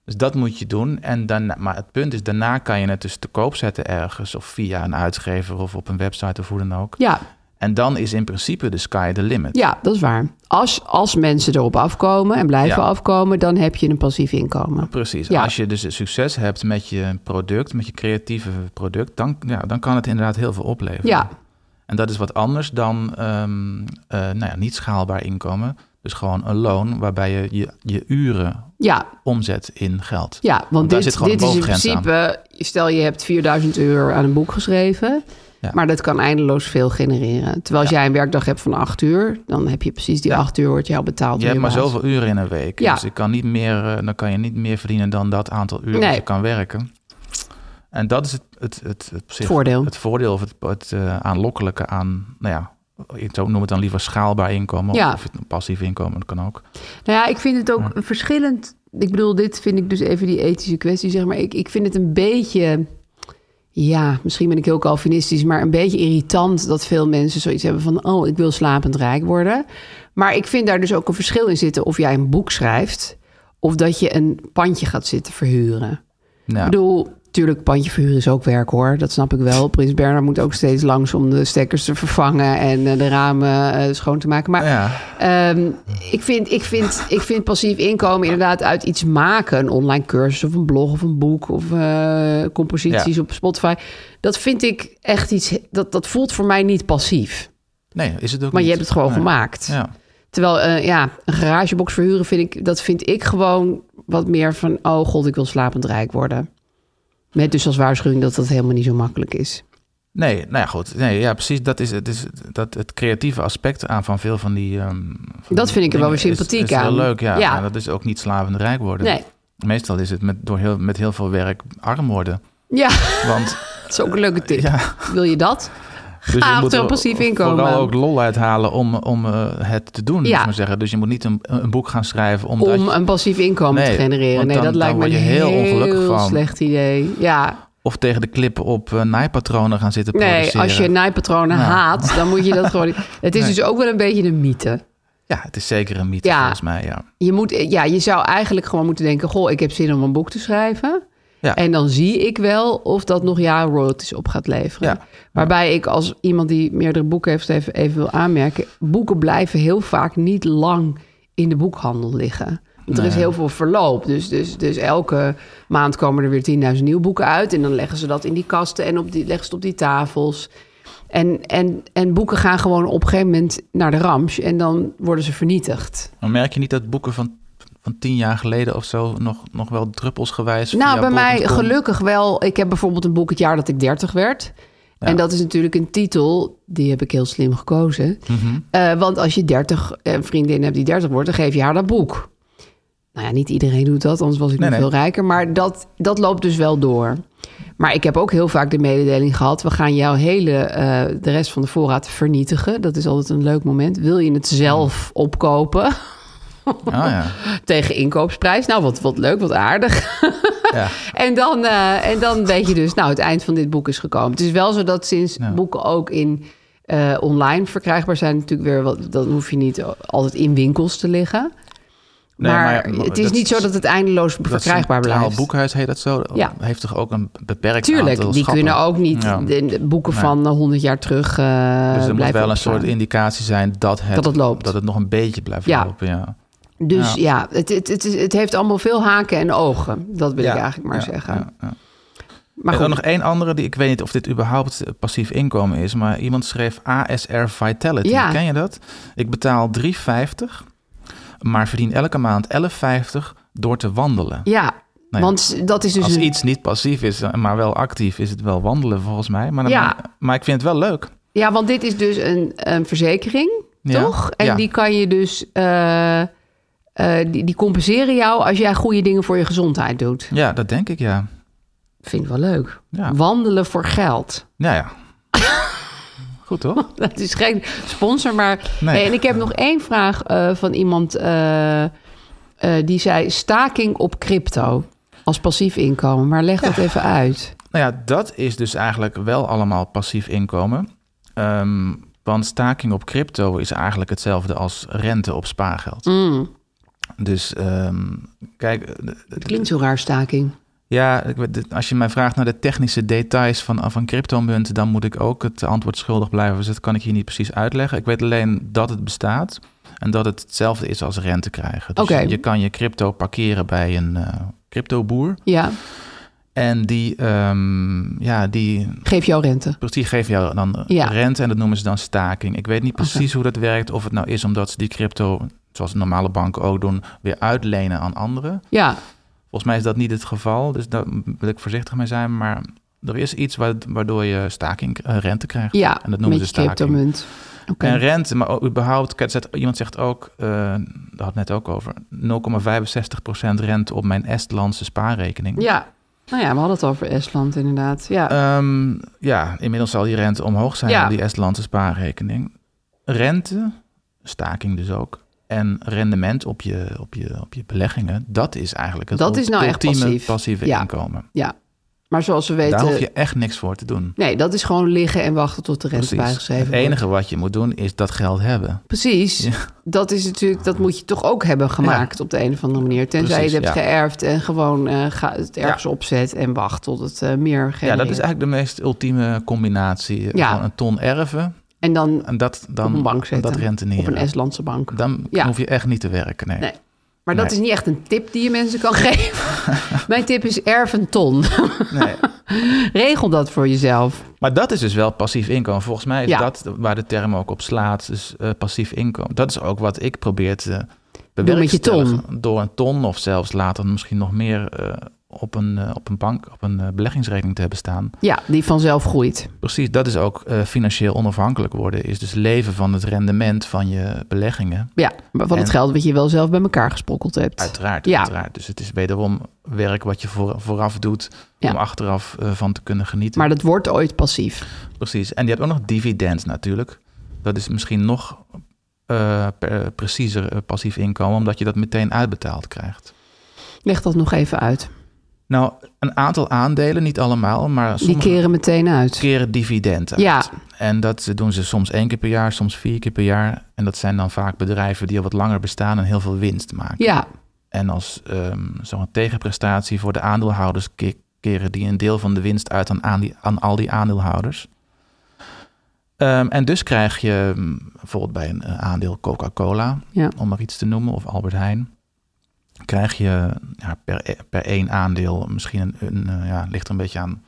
Dus dat moet je doen. En daarna, maar het punt is, daarna kan je het dus te koop zetten ergens of via een uitgever of op een website of hoe dan ook. ja. En dan is in principe de sky the limit. Ja, dat is waar. Als, als mensen erop afkomen en blijven Ja. afkomen, dan heb je een passief inkomen. Precies. Ja. Als je dus succes hebt met je product, met je creatieve product, dan, ja, dan kan het inderdaad heel veel opleveren. Ja, En dat is wat anders dan ehm, eh, nou ja, niet schaalbaar inkomen. Dus gewoon een loon waarbij je je, je uren ja, omzet in geld. ja. Want, Want daar dit, zit gewoon dit een is in bovengrens aan. principe, stel je hebt 4000 euro aan een boek geschreven, Ja. maar dat kan eindeloos veel genereren. Terwijl als jij een werkdag hebt van 8 uur, dan heb je precies die 8 uur wordt jou betaald. Je door hebt maar baas. zoveel uren in een week. Ja. Dus ik kan niet meer, eh, dan kan je niet meer verdienen dan dat aantal uren Nee. dat je kan werken. En dat is het, het, het, het, op zich- Voordeel. het voordeel of het, het eh, aanlokkelijke aan, nou ja, ik zou- noem het dan liever schaalbaar inkomen. Ja. Of, of het passief inkomen, dat kan ook. Nou ja, ik vind het ook een verschillend. Ik bedoel, dit vind ik dus even die ethische kwestie, zeg maar. Ik, ik vind het een beetje. Ja, misschien ben ik heel Calvinistisch, maar een beetje irritant dat veel mensen zoiets hebben van: oh, ik wil slapend rijk worden. Maar ik vind daar dus ook een verschil in zitten of jij een boek schrijft of dat je een pandje gaat zitten verhuren. Ja. Ik bedoel, natuurlijk, pandje verhuren is ook werk hoor. Dat snap ik wel. Prins Bernhard moet ook steeds langs om de stekkers te vervangen en eh, de ramen eh, schoon te maken. Maar Nou Ja. Ehm, ik, vind, ik, vind, ik vind passief inkomen inderdaad uit iets maken. Een online cursus of een blog of een boek of eh, composities Ja. op Spotify. Dat vind ik echt iets... Dat, dat voelt voor mij niet passief. Nee, is het ook Maar je niet. hebt het gewoon Nee. gemaakt. Ja. Terwijl eh, ja, een garagebox verhuren vind ik... Dat vind ik gewoon wat meer van... Oh god, ik wil slapend rijk worden. Met dus als waarschuwing dat dat helemaal niet zo makkelijk is. Nee, nou ja, goed. Nee, ja, precies. Dat is, het, is dat, het creatieve aspect aan van veel van die. ehm, van Dat die vind ik er dingen wel weer sympathiek is, is heel aan. leuk, ja. Ja. Maar Dat is ook niet slavend rijk worden. Nee. Meestal is het met, door heel, met heel veel werk arm worden. Ja, Want dat is ook een leuke tip. ja, Wil je dat? dus achter je moet een passief inkomen. vooral ook lol uithalen om, om eh, het te doen, Ja. moet ik maar zeggen. Dus je moet niet een, een boek gaan schrijven omdat om je- een passief inkomen Nee, te genereren. want Nee, dan- dat dan lijkt me een word je heel heel, ongelukkig van. slecht idee. Ja, of tegen de klip op eh, naaipatronen gaan zitten nee, produceren. als je naaipatronen Nou. haat, dan moet je dat gewoon. niet- Het is dus ook wel een beetje een mythe. Ja, het is zeker een mythe Ja. volgens mij, ja. Je, moet, ja, je zou eigenlijk gewoon moeten denken: Goh, ik heb zin om een boek te schrijven. Ja. En dan zie ik wel of dat nog jaren royalties op gaat leveren. Ja. Waarbij ik als iemand die meerdere boeken heeft, even, even wil aanmerken: boeken blijven heel vaak niet lang in de boekhandel liggen. Want er is heel veel verloop. Dus, dus, dus elke maand komen er weer 10.000 nieuwe boeken uit. En dan leggen ze dat in die kasten en op die, leggen ze het op die tafels. En, en, en boeken gaan gewoon op een gegeven moment naar de ramsch. En dan worden ze vernietigd. Maar merk je niet dat boeken van, van tien jaar geleden of zo nog, nog wel druppelsgewijs... Nou, via bij mij bol.com- gelukkig wel. Ik heb bijvoorbeeld een boek het jaar dat ik 30 werd. En dat is natuurlijk een titel, die heb ik heel slim gekozen. Mhm. Eh, want als je 30 eh, vriendinnen hebt die 30 wordt, dan geef je haar dat boek. Nou ja, niet iedereen doet dat, anders was ik Nee, nog nee. veel rijker. Maar dat, dat loopt dus wel door. Maar ik heb ook heel vaak de mededeling gehad: we gaan jouw hele, eh, de rest van de voorraad vernietigen. Dat is altijd een leuk moment. Wil je het zelf opkopen Ah, ja. tegen inkoopprijs? Nou, wat, wat leuk, wat aardig. ja. En dan, eh, en dan weet je dus, nou, het eind van dit boek is gekomen. Het is wel zo dat sinds boeken ook in eh, online verkrijgbaar zijn, natuurlijk weer wat, dan hoef je niet altijd in winkels te liggen. Nee, maar, maar het is dat niet zo dat het eindeloos Dat verkrijgbaar Centraal blijft. Boekhuis heet dat zo. Ja. Heeft toch ook een beperkt Tuurlijk, aantal die schappen? kunnen ook niet Ja. de, de boeken Nee. van eh, 100 jaar terug eh Dus er moet blijven wel een opslaan. soort indicatie zijn dat het, Dat het loopt. dat het nog een beetje blijft Ja. lopen. Ja. Dus ja, het, het, het, is- het heeft allemaal veel haken en ogen. Dat wil Ja, ik eigenlijk maar ja, zeggen. ja, ja. Maar en goed, dan nog één andere, die ik weet niet of dit überhaupt eh, passief inkomen is, maar iemand schreef ASR Vitality. Ja. Ken je dat? Ik betaal 3,50, maar verdien elke maand 11,50 door te wandelen. ja, ja. want dat is dus Als een- iets niet passief is, eh, maar wel actief, is het wel wandelen volgens mij. Maar, dan- Ja. maar ik vind het wel leuk. Ja, want dit is dus een, een verzekering, Ja, toch? En ja. die kan je dus... eh, eh, die, die compenseren jou als jij goede dingen voor je gezondheid doet. Ja, dat denk ik, ja. Vind ik wel leuk. Ja. Wandelen voor geld. Nou ja. Goed toch? Dat is geen sponsor, maar... Nee. Hey, en ik heb nog één vraag eh, van iemand eh, eh, die zei... staking op crypto als passief inkomen. Maar leg dat even uit. Nou ja, dat is dus eigenlijk wel allemaal passief inkomen. Ehm, want staking op crypto is eigenlijk hetzelfde als rente op spaargeld. Dus ehm, kijk, eh, Het klinkt zo raar, staking. Ja, ik weet- dit- als je mij vraagt naar de technische details van, van cryptomunten, dan moet ik ook het antwoord schuldig blijven. Dus dat kan ik hier niet precies uitleggen. Ik weet alleen dat het bestaat en dat het hetzelfde is als rente krijgen. Dus Oké. je kan je crypto parkeren bij een eh, cryptoboer. Ja, En die, ehm, ja, die, geef jou rente. die geven jou dan Ja. rente en dat noemen ze dan staking. Ik weet niet precies hoe dat werkt. Of het nou is omdat ze die crypto, zoals normale banken ook doen, weer uitlenen aan anderen. Ja, Volgens mij is dat niet het geval, dus daar wil ik voorzichtig mee zijn. Maar er is iets wa- waardoor je staking, eh, rente krijgt. ja en dat noemen ze met je staking. cryptomunt. Oké. En rente, maar ook überhaupt, kijk, zet- iemand zegt ook, eh, daar had het net ook over, 0,65% rente op mijn Estlandse spaarrekening. Ja, nou ja, we hadden het over Estland inderdaad. Ja, Ehm, ja, inmiddels zal die rente omhoog zijn Ja. op die Estlandse spaarrekening. Rente, staking dus ook, en rendement op je, op je, op je beleggingen, dat is eigenlijk het Dat is nou echt ultieme passief. passieve Ja. eh, inkomen. ja. maar zoals we Daar weten... hoef je echt niks voor te doen. Nee, dat is gewoon liggen en wachten tot de rente Precies. bijgeschreven Het wordt. enige wat je moet doen is dat geld hebben. Precies. Ja. Dat is natuurlijk, dat moet je toch ook hebben gemaakt op de een of andere manier. Tenzij Precies, je het hebt ja. geërfd en gewoon eh, ga het ergens opzet en wacht tot het eh, meer genereert. Ja, dat is eigenlijk de meest ultieme combinatie. Ja. Gewoon een ton erven En dan en dat dan op een bank zetten. dat Op een renteneren. Estlandse bank. Dan Ja. hoef je echt niet te werken. Nee. Nee. Maar dat Nee. is niet echt een tip die je mensen kan geven. Mijn tip is erf een ton. Nee. Regel dat voor jezelf. Maar dat is dus wel passief inkomen. Volgens mij is Ja. dat waar de term ook op slaat. Dus eh, passief inkomen. Dat is ook wat ik probeer te Doe met je ton. bewerkstelligen. Door een ton of zelfs later misschien nog meer eh, op, een, eh, op een bank, op een eh, beleggingsrekening te hebben staan. Ja, die vanzelf groeit. Precies, dat is ook eh, financieel onafhankelijk worden. Is dus leven van het rendement van je beleggingen. Ja, maar van het En- geld wat je wel zelf bij elkaar gesprokkeld hebt. Uiteraard, Ja. uiteraard. Dus het is wederom werk wat je voor, vooraf doet Ja. om achteraf eh, van te kunnen genieten. Maar dat wordt ooit passief. Precies. En je hebt ook nog dividend natuurlijk. Dat is misschien nog eh, per- preciezer eh, passief inkomen, omdat je dat meteen uitbetaald krijgt. Leg dat nog even uit. Nou, een aantal aandelen, niet allemaal, maar Die sommige keren meteen uit. keren dividend uit. Ja, En dat doen ze soms één keer per jaar, soms vier keer per jaar. En dat zijn dan vaak bedrijven die al wat langer bestaan en heel veel winst maken. ja. En als ehm, zo'n tegenprestatie voor de aandeelhouders ke- keren die een deel van de winst uit aan, aan, die, aan al die aandeelhouders. Ehm, en dus krijg je ehm, bijvoorbeeld bij een eh, aandeel Coca-Cola, Ja. om maar iets te noemen, of Albert Heijn. Krijg je ja, per, e- per één aandeel misschien een, een, eh, ja, ligt er een beetje aan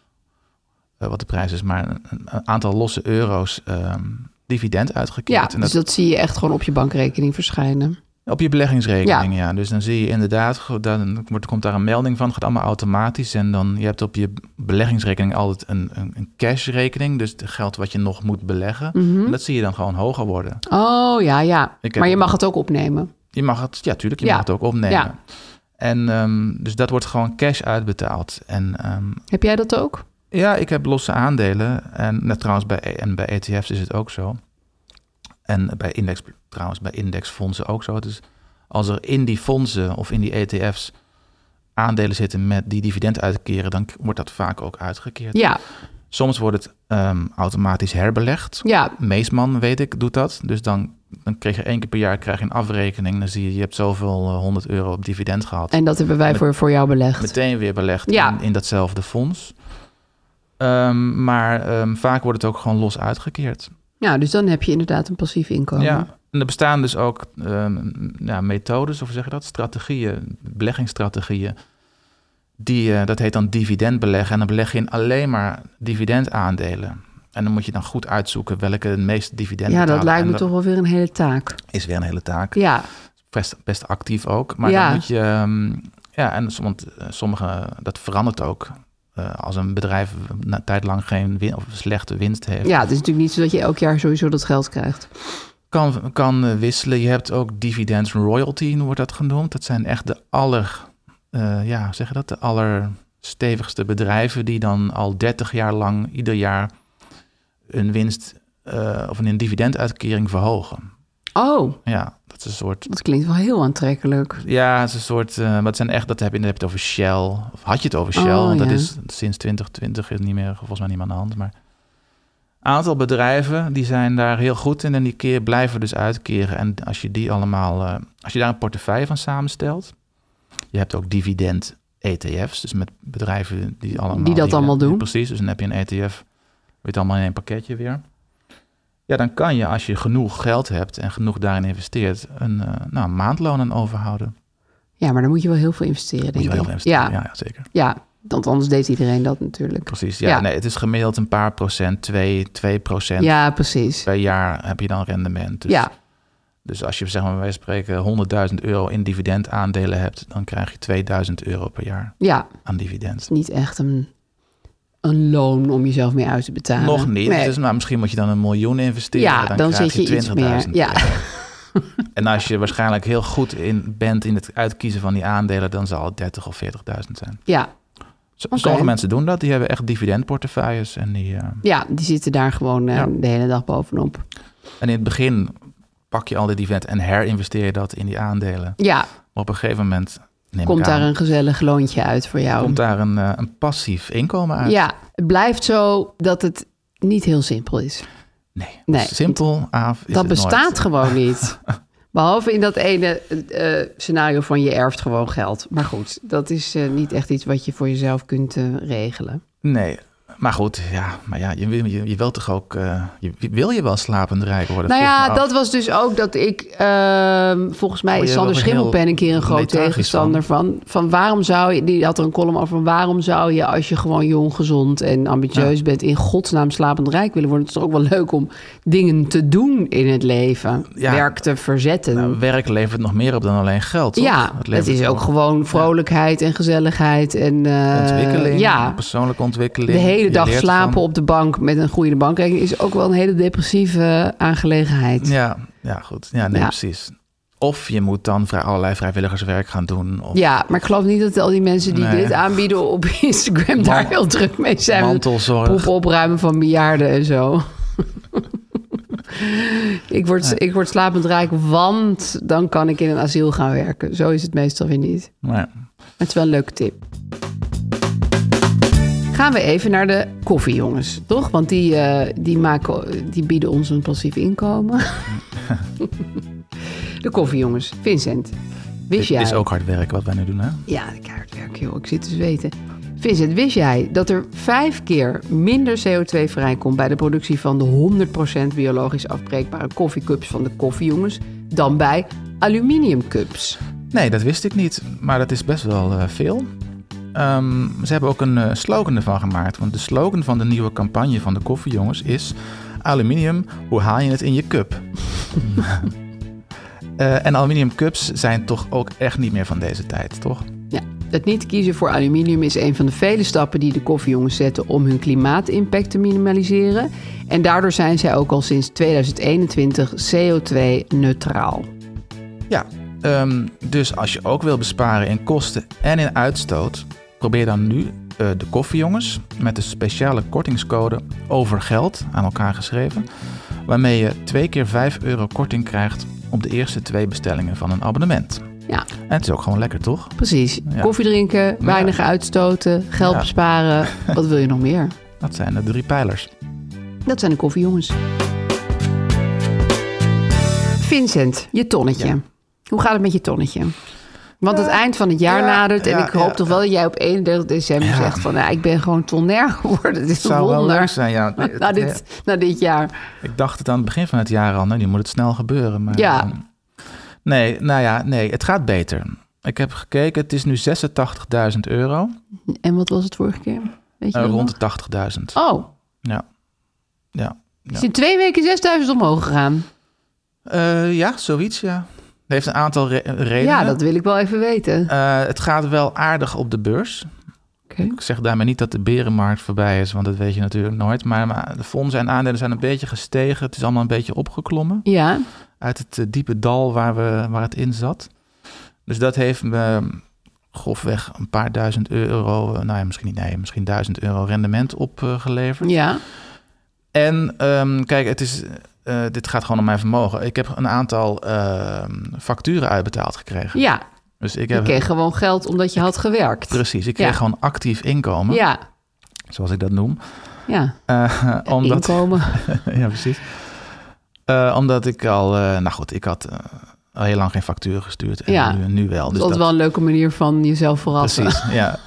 eh, wat de prijs is, maar een, een aantal losse euro's ehm, dividend uitgekeerd. Ja, En dus dat zie je echt gewoon op je bankrekening verschijnen. op je beleggingsrekening, ja. Dus dan zie je inderdaad, go- dan wordt- komt daar een melding van, gaat allemaal automatisch. En dan, je hebt op je beleggingsrekening altijd een, een, een cashrekening, dus het geld wat je nog moet beleggen. Mhm. En dat zie je dan gewoon hoger worden. Oh ja, ja. Ik heb- Maar je mag het ook opnemen. Je mag het, ja tuurlijk, je Ja. mag het ook opnemen. Ja. En ehm, dus dat wordt gewoon cash uitbetaald. En ehm, Heb jij dat ook? ja, ik heb losse aandelen. En net trouwens, bij, E- en bij ETF's is het ook zo. En bij index, trouwens, bij indexfondsen ook zo. Dus als er in die fondsen of in die ETF's aandelen zitten met die dividend uitkeren, dan k- wordt dat vaak ook uitgekeerd. Ja, Soms wordt het ehm, automatisch herbelegd. ja. Meesman, weet ik, doet dat. Dus dan, dan kreeg je één keer per jaar krijg je een afrekening. Dan zie je, je hebt zoveel eh, 100 euro op dividend gehad En dat hebben wij voor, voor jou belegd. meteen weer belegd Ja. in, in datzelfde fonds. Ehm, maar ehm, vaak wordt het ook gewoon los uitgekeerd. Ja, dus dan heb je inderdaad een passief inkomen. Ja. En er bestaan dus ook ehm, ja, methodes, of hoe zeg je dat, strategieën, beleggingsstrategieën. Die, eh, dat heet dan dividend beleggen. En dan beleg je in alleen maar dividendaandelen. En dan moet je dan goed uitzoeken welke het meeste dividend Ja, dat betalen. lijkt me En toch wel weer een hele taak. is weer een hele taak. Ja, best, best actief ook. Maar Ja. dan moet je... ehm, ja, en som- want eh, sommige... Dat verandert ook. Eh, als een bedrijf na tijd lang geen win, of slechte winst heeft... ja, het is natuurlijk niet zo dat je elk jaar sowieso dat geld krijgt. Kan, kan eh, wisselen. Je hebt ook dividends royalty, wordt dat genoemd. Dat zijn echt de aller... eh, ja, hoe zeg je dat? De allerstevigste bedrijven... die dan al 30 jaar lang ieder jaar een winst... eh, of een dividenduitkering verhogen. Oh, Ja, dat is een soort dat klinkt wel heel aantrekkelijk. Ja, het is een soort. eh, maar het zijn echt, dat heb je, dan heb je het over Shell. Of had je het over Shell? Oh, want dat ja. is sinds 2020 is niet meer, volgens mij niet meer aan de hand. Maar een aantal bedrijven die zijn daar heel goed in en die keer blijven dus uitkeren. En als je die allemaal, eh, als je daar een portefeuille van samenstelt, je hebt ook dividend ETF's. Dus met bedrijven die allemaal... Die dat allemaal doen. Precies, dus dan heb je een ETF. Weet allemaal in één pakketje weer. Ja, dan kan je als je genoeg geld hebt en genoeg daarin investeert... een, eh, nou, een maandloon aan overhouden. Ja, maar dan moet je wel heel veel investeren, Moet denk je wel heel ik. veel investeren. Ja, ja zeker. ja, want anders deed iedereen dat natuurlijk. Precies, ja. Ja. Nee, het is gemiddeld een paar procent, 2, 2 procent. Ja, precies. Per jaar heb je dan rendement. Dus, Ja, dus als je, zeg maar, bij wijze van spreken 100.000 euro in dividend aandelen hebt, dan krijg je 2000 euro per jaar ja, aan dividend. niet echt een, een loon om jezelf mee uit te betalen. Nog niet. Nee. Dus nou, misschien moet je dan een miljoen investeren. Ja, dan, dan krijg zit je iets meer. 20.000 Ja. euro. En als je waarschijnlijk heel goed in bent in het uitkiezen van die aandelen, dan zal het 30 of 40.000 zijn. ja, Z- Oké. Sommige mensen doen dat. Die hebben echt dividendportefeuilles. En, die, eh, ja, die zitten daar gewoon eh, Ja. de hele dag bovenop. en in het begin pak je al die dividend en herinvesteer je dat in die aandelen. Ja, Maar op een gegeven moment neem komt ik aan, daar een gezellig loontje uit voor jou. komt daar een, eh, een passief inkomen uit. Ja, het blijft zo dat het niet heel simpel is. Nee, Dus Nee. simpel, af is het dat nooit. bestaat gewoon niet. Behalve in dat ene eh, scenario van je erft gewoon geld. Maar goed, dat is eh, niet echt iets wat je voor jezelf kunt eh, regelen. Nee, maar goed, ja, maar ja, je, wil- je, je wilt toch ook, eh, je, wil je wel slapend rijk worden? nou Vroeg ja, me af. dat was dus ook dat ik... ehm, volgens mij Oh, is je Sander was er heel Schimmelpen een keer een groot lethargisch tegenstander van. Van waarom zou je... Die had er een column over van waarom zou je als je gewoon jong, gezond en ambitieus bent... in godsnaam slapend rijk willen worden. Het is toch ook wel leuk om dingen te doen in het leven. Ja. Werk te verzetten. Nou, werk levert nog meer op dan alleen geld, toch? Ja, het, levert is ook gewoon vrolijkheid en gezelligheid. En, eh, Ontwikkeling, Ja, persoonlijke ontwikkeling. de hele Je dag leert slapen van- op de bank met een groeiende bankrekening... is ook wel een hele depressieve aangelegenheid. Ja, Ja, ja goed. Ja, nee, Ja. precies. Of je moet dan vrij, allerlei vrijwilligerswerk gaan doen. Of maar ik geloof niet dat al die mensen die Nee. dit aanbieden op Instagram... daar heel druk mee zijn. met mantelzorg. Poep opruimen van bejaarden en zo. ik, word, ik word slapend rijk, want dan kan ik in een asiel gaan werken. Zo is het meestal weer niet. Maar, Maar Het is wel een leuke tip. Gaan we even naar de koffiejongens, toch? Want die, eh, die, maken, die bieden ons een passief inkomen. de koffiejongens. Vincent, wist dit jij... is ook hard werk wat wij nu doen, hè? Ja, keihard werk, joh. Ik zit te zweten. Vincent, wist jij dat er vijf keer minder CO2 vrijkomt... bij de productie van de 100% biologisch afbreekbare koffiecups van de koffiejongens... dan bij aluminiumcups? Nee, dat wist ik niet. Maar dat is best wel eh, veel. Ehm, ze hebben ook een eh, slogan ervan gemaakt. Want de slogan van de nieuwe campagne van de koffiejongens is... Aluminium, hoe haal je het in je cup? Eh, en aluminium cups zijn toch ook echt niet meer van deze tijd, toch? Ja, het niet kiezen voor aluminium is een van de vele stappen die de koffiejongens zetten om hun klimaatimpact te minimaliseren. En daardoor zijn zij ook al sinds 2021 CO2-neutraal. Ja, ehm, dus als je ook wil besparen in kosten en in uitstoot, probeer dan nu eh, de koffiejongens met de speciale kortingscode over geld aan elkaar geschreven, waarmee je twee keer 5 euro korting krijgt op de eerste twee bestellingen van een abonnement. Ja, En het is ook gewoon lekker, toch? precies. Ja. Koffie drinken, weinig uitstoten, geld Ja. besparen. Wat wil je nog meer? Dat zijn de drie pijlers. Dat zijn de koffiejongens. Vincent, je tonnetje. Hoe gaat het met je tonnetje? Want het eind van het jaar Eh, ja, nadert. En ja, ik hoop ja, toch wel dat jij op 31 december Ja. zegt van... Nou, ik ben gewoon tonner geworden. Het is Het zou een wel leuk wonder. zijn, ja. Nee, Na het- eh, dit, na dit jaar. Ik dacht het aan het begin van het jaar al, nou, nu moet het snel gebeuren. Maar, Ja. ehm, nee, nou ja, nee, het gaat beter. Ik heb gekeken, het is nu 86.000 euro. En wat was het vorige keer? Weet je Eh, dat rond nog? de 80.000. Oh, Ja. Ja. het is in twee weken 6000 omhoog gegaan. Eh, ja, zoiets, ja. Het heeft een aantal re- eh, redenen. Ja, dat wil ik wel even weten. Eh, het gaat wel aardig op de beurs. Oké. Ik zeg daarmee niet dat de berenmarkt voorbij is, want dat weet je natuurlijk nooit. Maar, maar de fondsen en aandelen zijn een beetje gestegen. Het is allemaal een beetje opgeklommen Ja, uit het eh, diepe dal waar, we, waar het in zat. Dus dat heeft me grofweg een paar duizend euro, eh, nou ja, misschien niet, nee, misschien duizend euro rendement opgeleverd. ja. En ehm, kijk, het is, eh, dit gaat gewoon om mijn vermogen. Ik heb een aantal ehm, facturen uitbetaald gekregen. Ja, Dus ik je heb kreeg gewoon geld omdat je had gewerkt. precies, ik kreeg Ja. gewoon actief inkomen, Ja, zoals ik dat noem. ja. Eh, omdat, Inkomen. ja, precies. Eh, omdat ik al, eh, nou goed, ik had eh, al heel lang geen factuur gestuurd. En Ja. nu, nu wel. dus dat is altijd wel een leuke manier van jezelf verrassen. Precies, ja.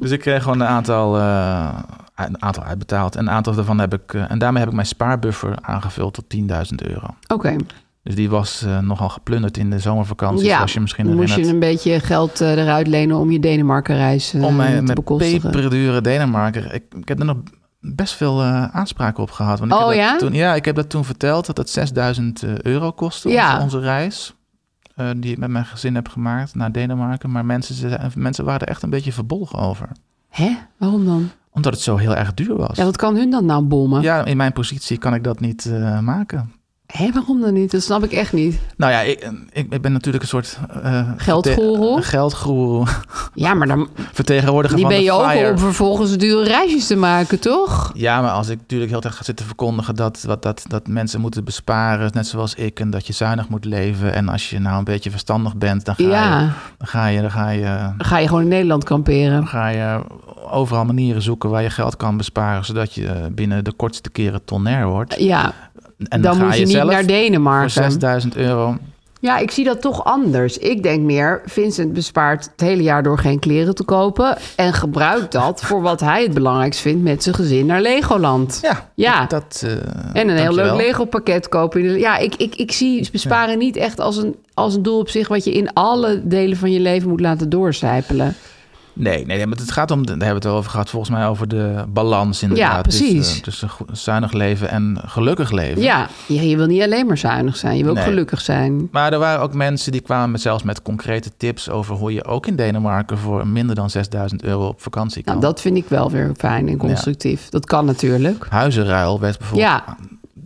Dus ik kreeg gewoon een aantal, eh, een aantal uitbetaald. En een aantal daarvan heb ik... eh, en daarmee heb ik mijn spaarbuffer aangevuld tot 10.000 euro. Oké, Dus die was eh, nogal geplunderd in de zomervakantie, ja. zoals je misschien moest je herinnert. een beetje geld eh, eruit lenen om je Denemarkenreis eh Om mij te met bekostigen. peperdure Denemarken... Ik, ik heb er nog best veel eh, aanspraken op gehad. Want ik Oh, heb dat ja? Toen, ja, ik heb dat toen verteld dat dat 6000 eh, euro kostte, Ja. onze, onze reis. eh, die ik met mijn gezin heb gemaakt naar Denemarken. Maar mensen, ze- mensen waren er echt een beetje verbolgen over. Hè? Waarom dan? Omdat het zo heel erg duur was. Ja, wat kan hun dan nou bommen? Ja, in mijn positie kan ik dat niet eh, maken. Hé, waarom dan niet? Dat snap ik echt niet. Nou ja, ik, ik, ik ben natuurlijk een soort... eh, Geldgoeroe? verte- Geldgoeroe. Ja, maar dan, Vertegenwoordiger die van ben de je ook FIRE. om vervolgens dure reisjes te maken, toch? Ja, maar als ik natuurlijk heel erg ga zitten verkondigen... Dat, wat, dat, dat mensen moeten besparen, net zoals ik... en dat je zuinig moet leven. En als je nou een beetje verstandig bent... dan ga je... Ja, Dan ga je, dan ga je dan ga je gewoon in Nederland kamperen. dan ga je overal manieren zoeken waar je geld kan besparen, zodat je eh, binnen de kortste keren tonair wordt. Ja, En dan ga moet je niet zelf naar voor Denemarken. 6000 euro. Ja, ik zie dat toch anders. Ik denk meer, Vincent bespaart het hele jaar door geen kleren te kopen... en gebruikt dat voor wat hij het belangrijkst vindt met zijn gezin naar Legoland. Ja, Ja. Dat, eh, En een heel leuk dankjewel. Lego pakket kopen. in de- Ja, ik, ik, ik zie besparen niet echt als een, als een doel op zich... wat je in alle delen van je leven moet laten doorcijpelen. Nee, nee, nee, maar het gaat om, de- daar hebben we het wel over gehad, volgens mij over de balans inderdaad. Ja, precies. Tussen, tussen goed- zuinig leven en gelukkig leven. Ja, je, je wil niet alleen maar zuinig zijn. Je wil Nee. ook gelukkig zijn. Maar er waren ook mensen die kwamen met, zelfs met concrete tips over hoe je ook in Denemarken voor minder dan 6000 euro op vakantie kan. Nou, dat vind ik wel weer fijn en constructief. Dat kan natuurlijk. Huizenruil werd bijvoorbeeld. Ja.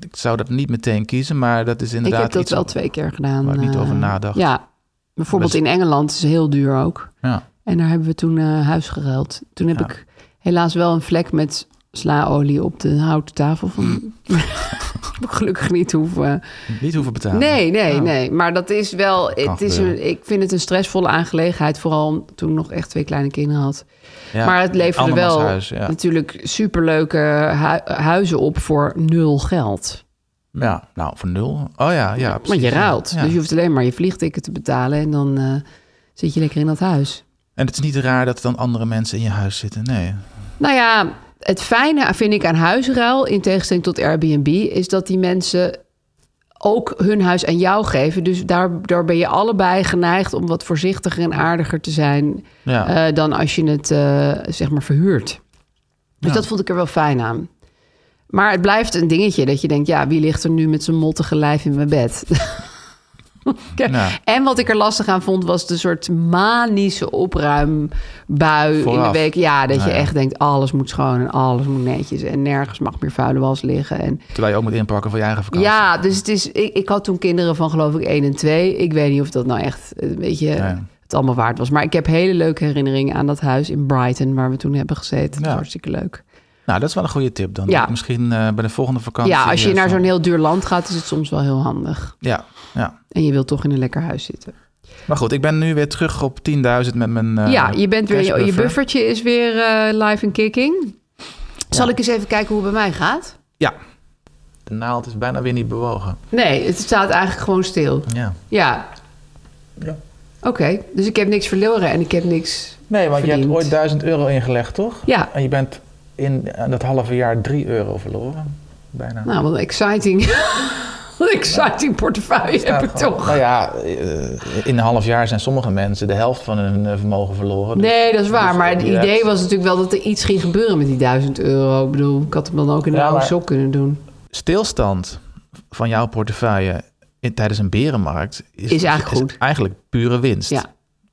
Ik zou dat niet meteen kiezen, maar dat is inderdaad. Ik heb dat iets wel op- twee keer gedaan. waar ik niet eh, over nadacht. Ja, bijvoorbeeld Best- in Engeland is het heel duur ook. Ja. En daar hebben we toen eh, huis geruild. Toen heb Ja. ik helaas wel een vlek met slaolie op de houten tafel. Van... Mm. Heb ik Gelukkig niet hoeven. eh, Niet hoeven betalen. Nee, nee, Ja. nee. Maar dat is wel. kan Het is gebeuren. een, ik vind het een stressvolle aangelegenheid. Vooral toen ik nog echt twee kleine kinderen had. Ja, maar het leverde wel andermanshuis, ja. natuurlijk superleuke hu- huizen op voor nul geld. Ja, nou, voor nul. Oh ja, ja. Want precies, je ja. ruilt. Ja. Dus je hoeft alleen maar je vliegticket te betalen en dan eh, zit je lekker in dat huis. En het is niet raar dat er dan andere mensen in je huis zitten. Nee. Nou ja, het fijne vind ik aan huisruil, in tegenstelling tot Airbnb, is dat die mensen ook hun huis aan jou geven. Dus daar, daar ben je allebei geneigd om wat voorzichtiger en aardiger te zijn Ja. eh, dan als je het eh, zeg maar verhuurt. Dus dat vond ik er wel fijn aan. Maar het blijft een dingetje dat je denkt, ja, wie ligt er nu met zijn mottige lijf in mijn bed? Oké. Ja. En wat ik er lastig aan vond, was de soort manische opruimbui in Vooraf. de week. Ja, dat Nou je ja. echt denkt, alles moet schoon en alles moet netjes. En nergens mag meer vuile was liggen. En Terwijl je ook moet inpakken voor je eigen vakantie. ja, dus het is, ik, ik had toen kinderen van geloof ik 1 en 2. Ik weet niet of dat nou echt een beetje Nee. het allemaal waard was. Maar ik heb hele leuke herinneringen aan dat huis in Brighton... waar we toen hebben gezeten. Dat was Ja. hartstikke leuk. Nou, dat is wel een goede tip dan. Ja. Dat ik Misschien eh, bij de volgende vakantie. Ja, als je eh, naar van- zo'n heel duur land gaat... is het soms wel heel handig. Ja, ja. En je wilt toch in een lekker huis zitten. Maar goed, ik ben nu weer terug op 10.000 met mijn. eh, ja, je, bent weer, je cashbuffer. buffertje is weer eh, live en kicking. Zal ik eens even kijken hoe het bij mij gaat? Ja. De naald is bijna weer niet bewogen. Nee, het staat eigenlijk gewoon stil. Ja. Ja. Ja. Oké, dus ik heb niks verloren en ik heb niks Nee, want je verdiend. hebt ooit 1000 euro ingelegd, toch? Ja. En je bent in eh, dat halve jaar 3 euro verloren. Bijna. Nou, wat een exciting, wat een exciting portefeuille heb ik Nou, toch. Nou ja, eh, in een half jaar zijn sommige mensen de helft van hun eh, vermogen verloren. Dus- Nee, dat is waar. dus Maar het je hebt- idee was natuurlijk wel dat er iets ging gebeuren met die 1000 euro. Ik bedoel, ik had hem dan ook in de Ja, oude maar- sok kunnen doen. Stilstand van jouw portefeuille in, tijdens een berenmarkt... Is, eigenlijk goed. eigenlijk pure winst. Ja,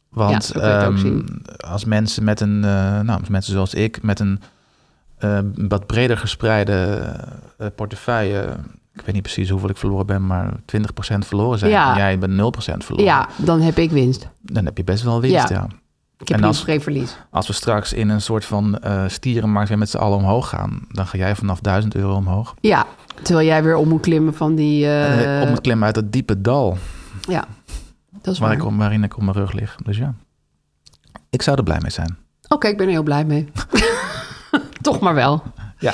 Want Ja, zo kan je het ook ehm, zien. als mensen met een, eh, nou, als mensen zoals ik, met een eh, wat breder gespreide eh, portefeuille, ik weet niet precies hoeveel ik verloren ben, maar 20% verloren zijn. Ja. En jij bent 0% verloren. ja dan heb ik winst. Dan heb je best wel winst, Ja. ja. Ik heb En niet als- geen verlies. Als we straks in een soort van eh, stierenmarkt weer met z'n allen omhoog gaan, dan ga jij vanaf 1000 euro omhoog. Ja, terwijl jij weer om moet klimmen van die... eh, Eh, om het klimmen uit dat diepe dal Ja, dat is waar waar. ik, Oké, om- waarin ik op mijn rug lig. Dus ja, ik zou er blij mee zijn. ik ben er heel blij mee. Toch maar wel. Ja.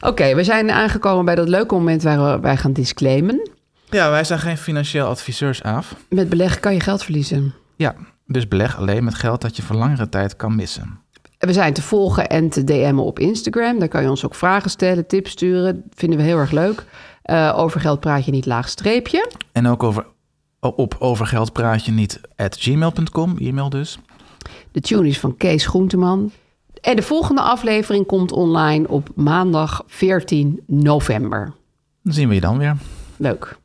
Oké, we zijn aangekomen bij dat leuke moment waar we- wij gaan disclaimen. Ja, wij zijn geen financieel adviseurs, Aaf. Met beleggen kan je geld verliezen. Ja, dus beleg alleen met geld dat je voor langere tijd kan missen. We zijn te volgen en te DM'en op Instagram. Daar kan je ons ook vragen stellen, tips sturen. vinden we heel erg leuk. Eh, over geld praat je niet laag streepje. En ook over, op overgeld praat je niet at gmail.com, e-mail dus. De tune is van Kees Groenteman. En de volgende aflevering komt online op maandag 14 november. Dan zien we je dan weer. Leuk.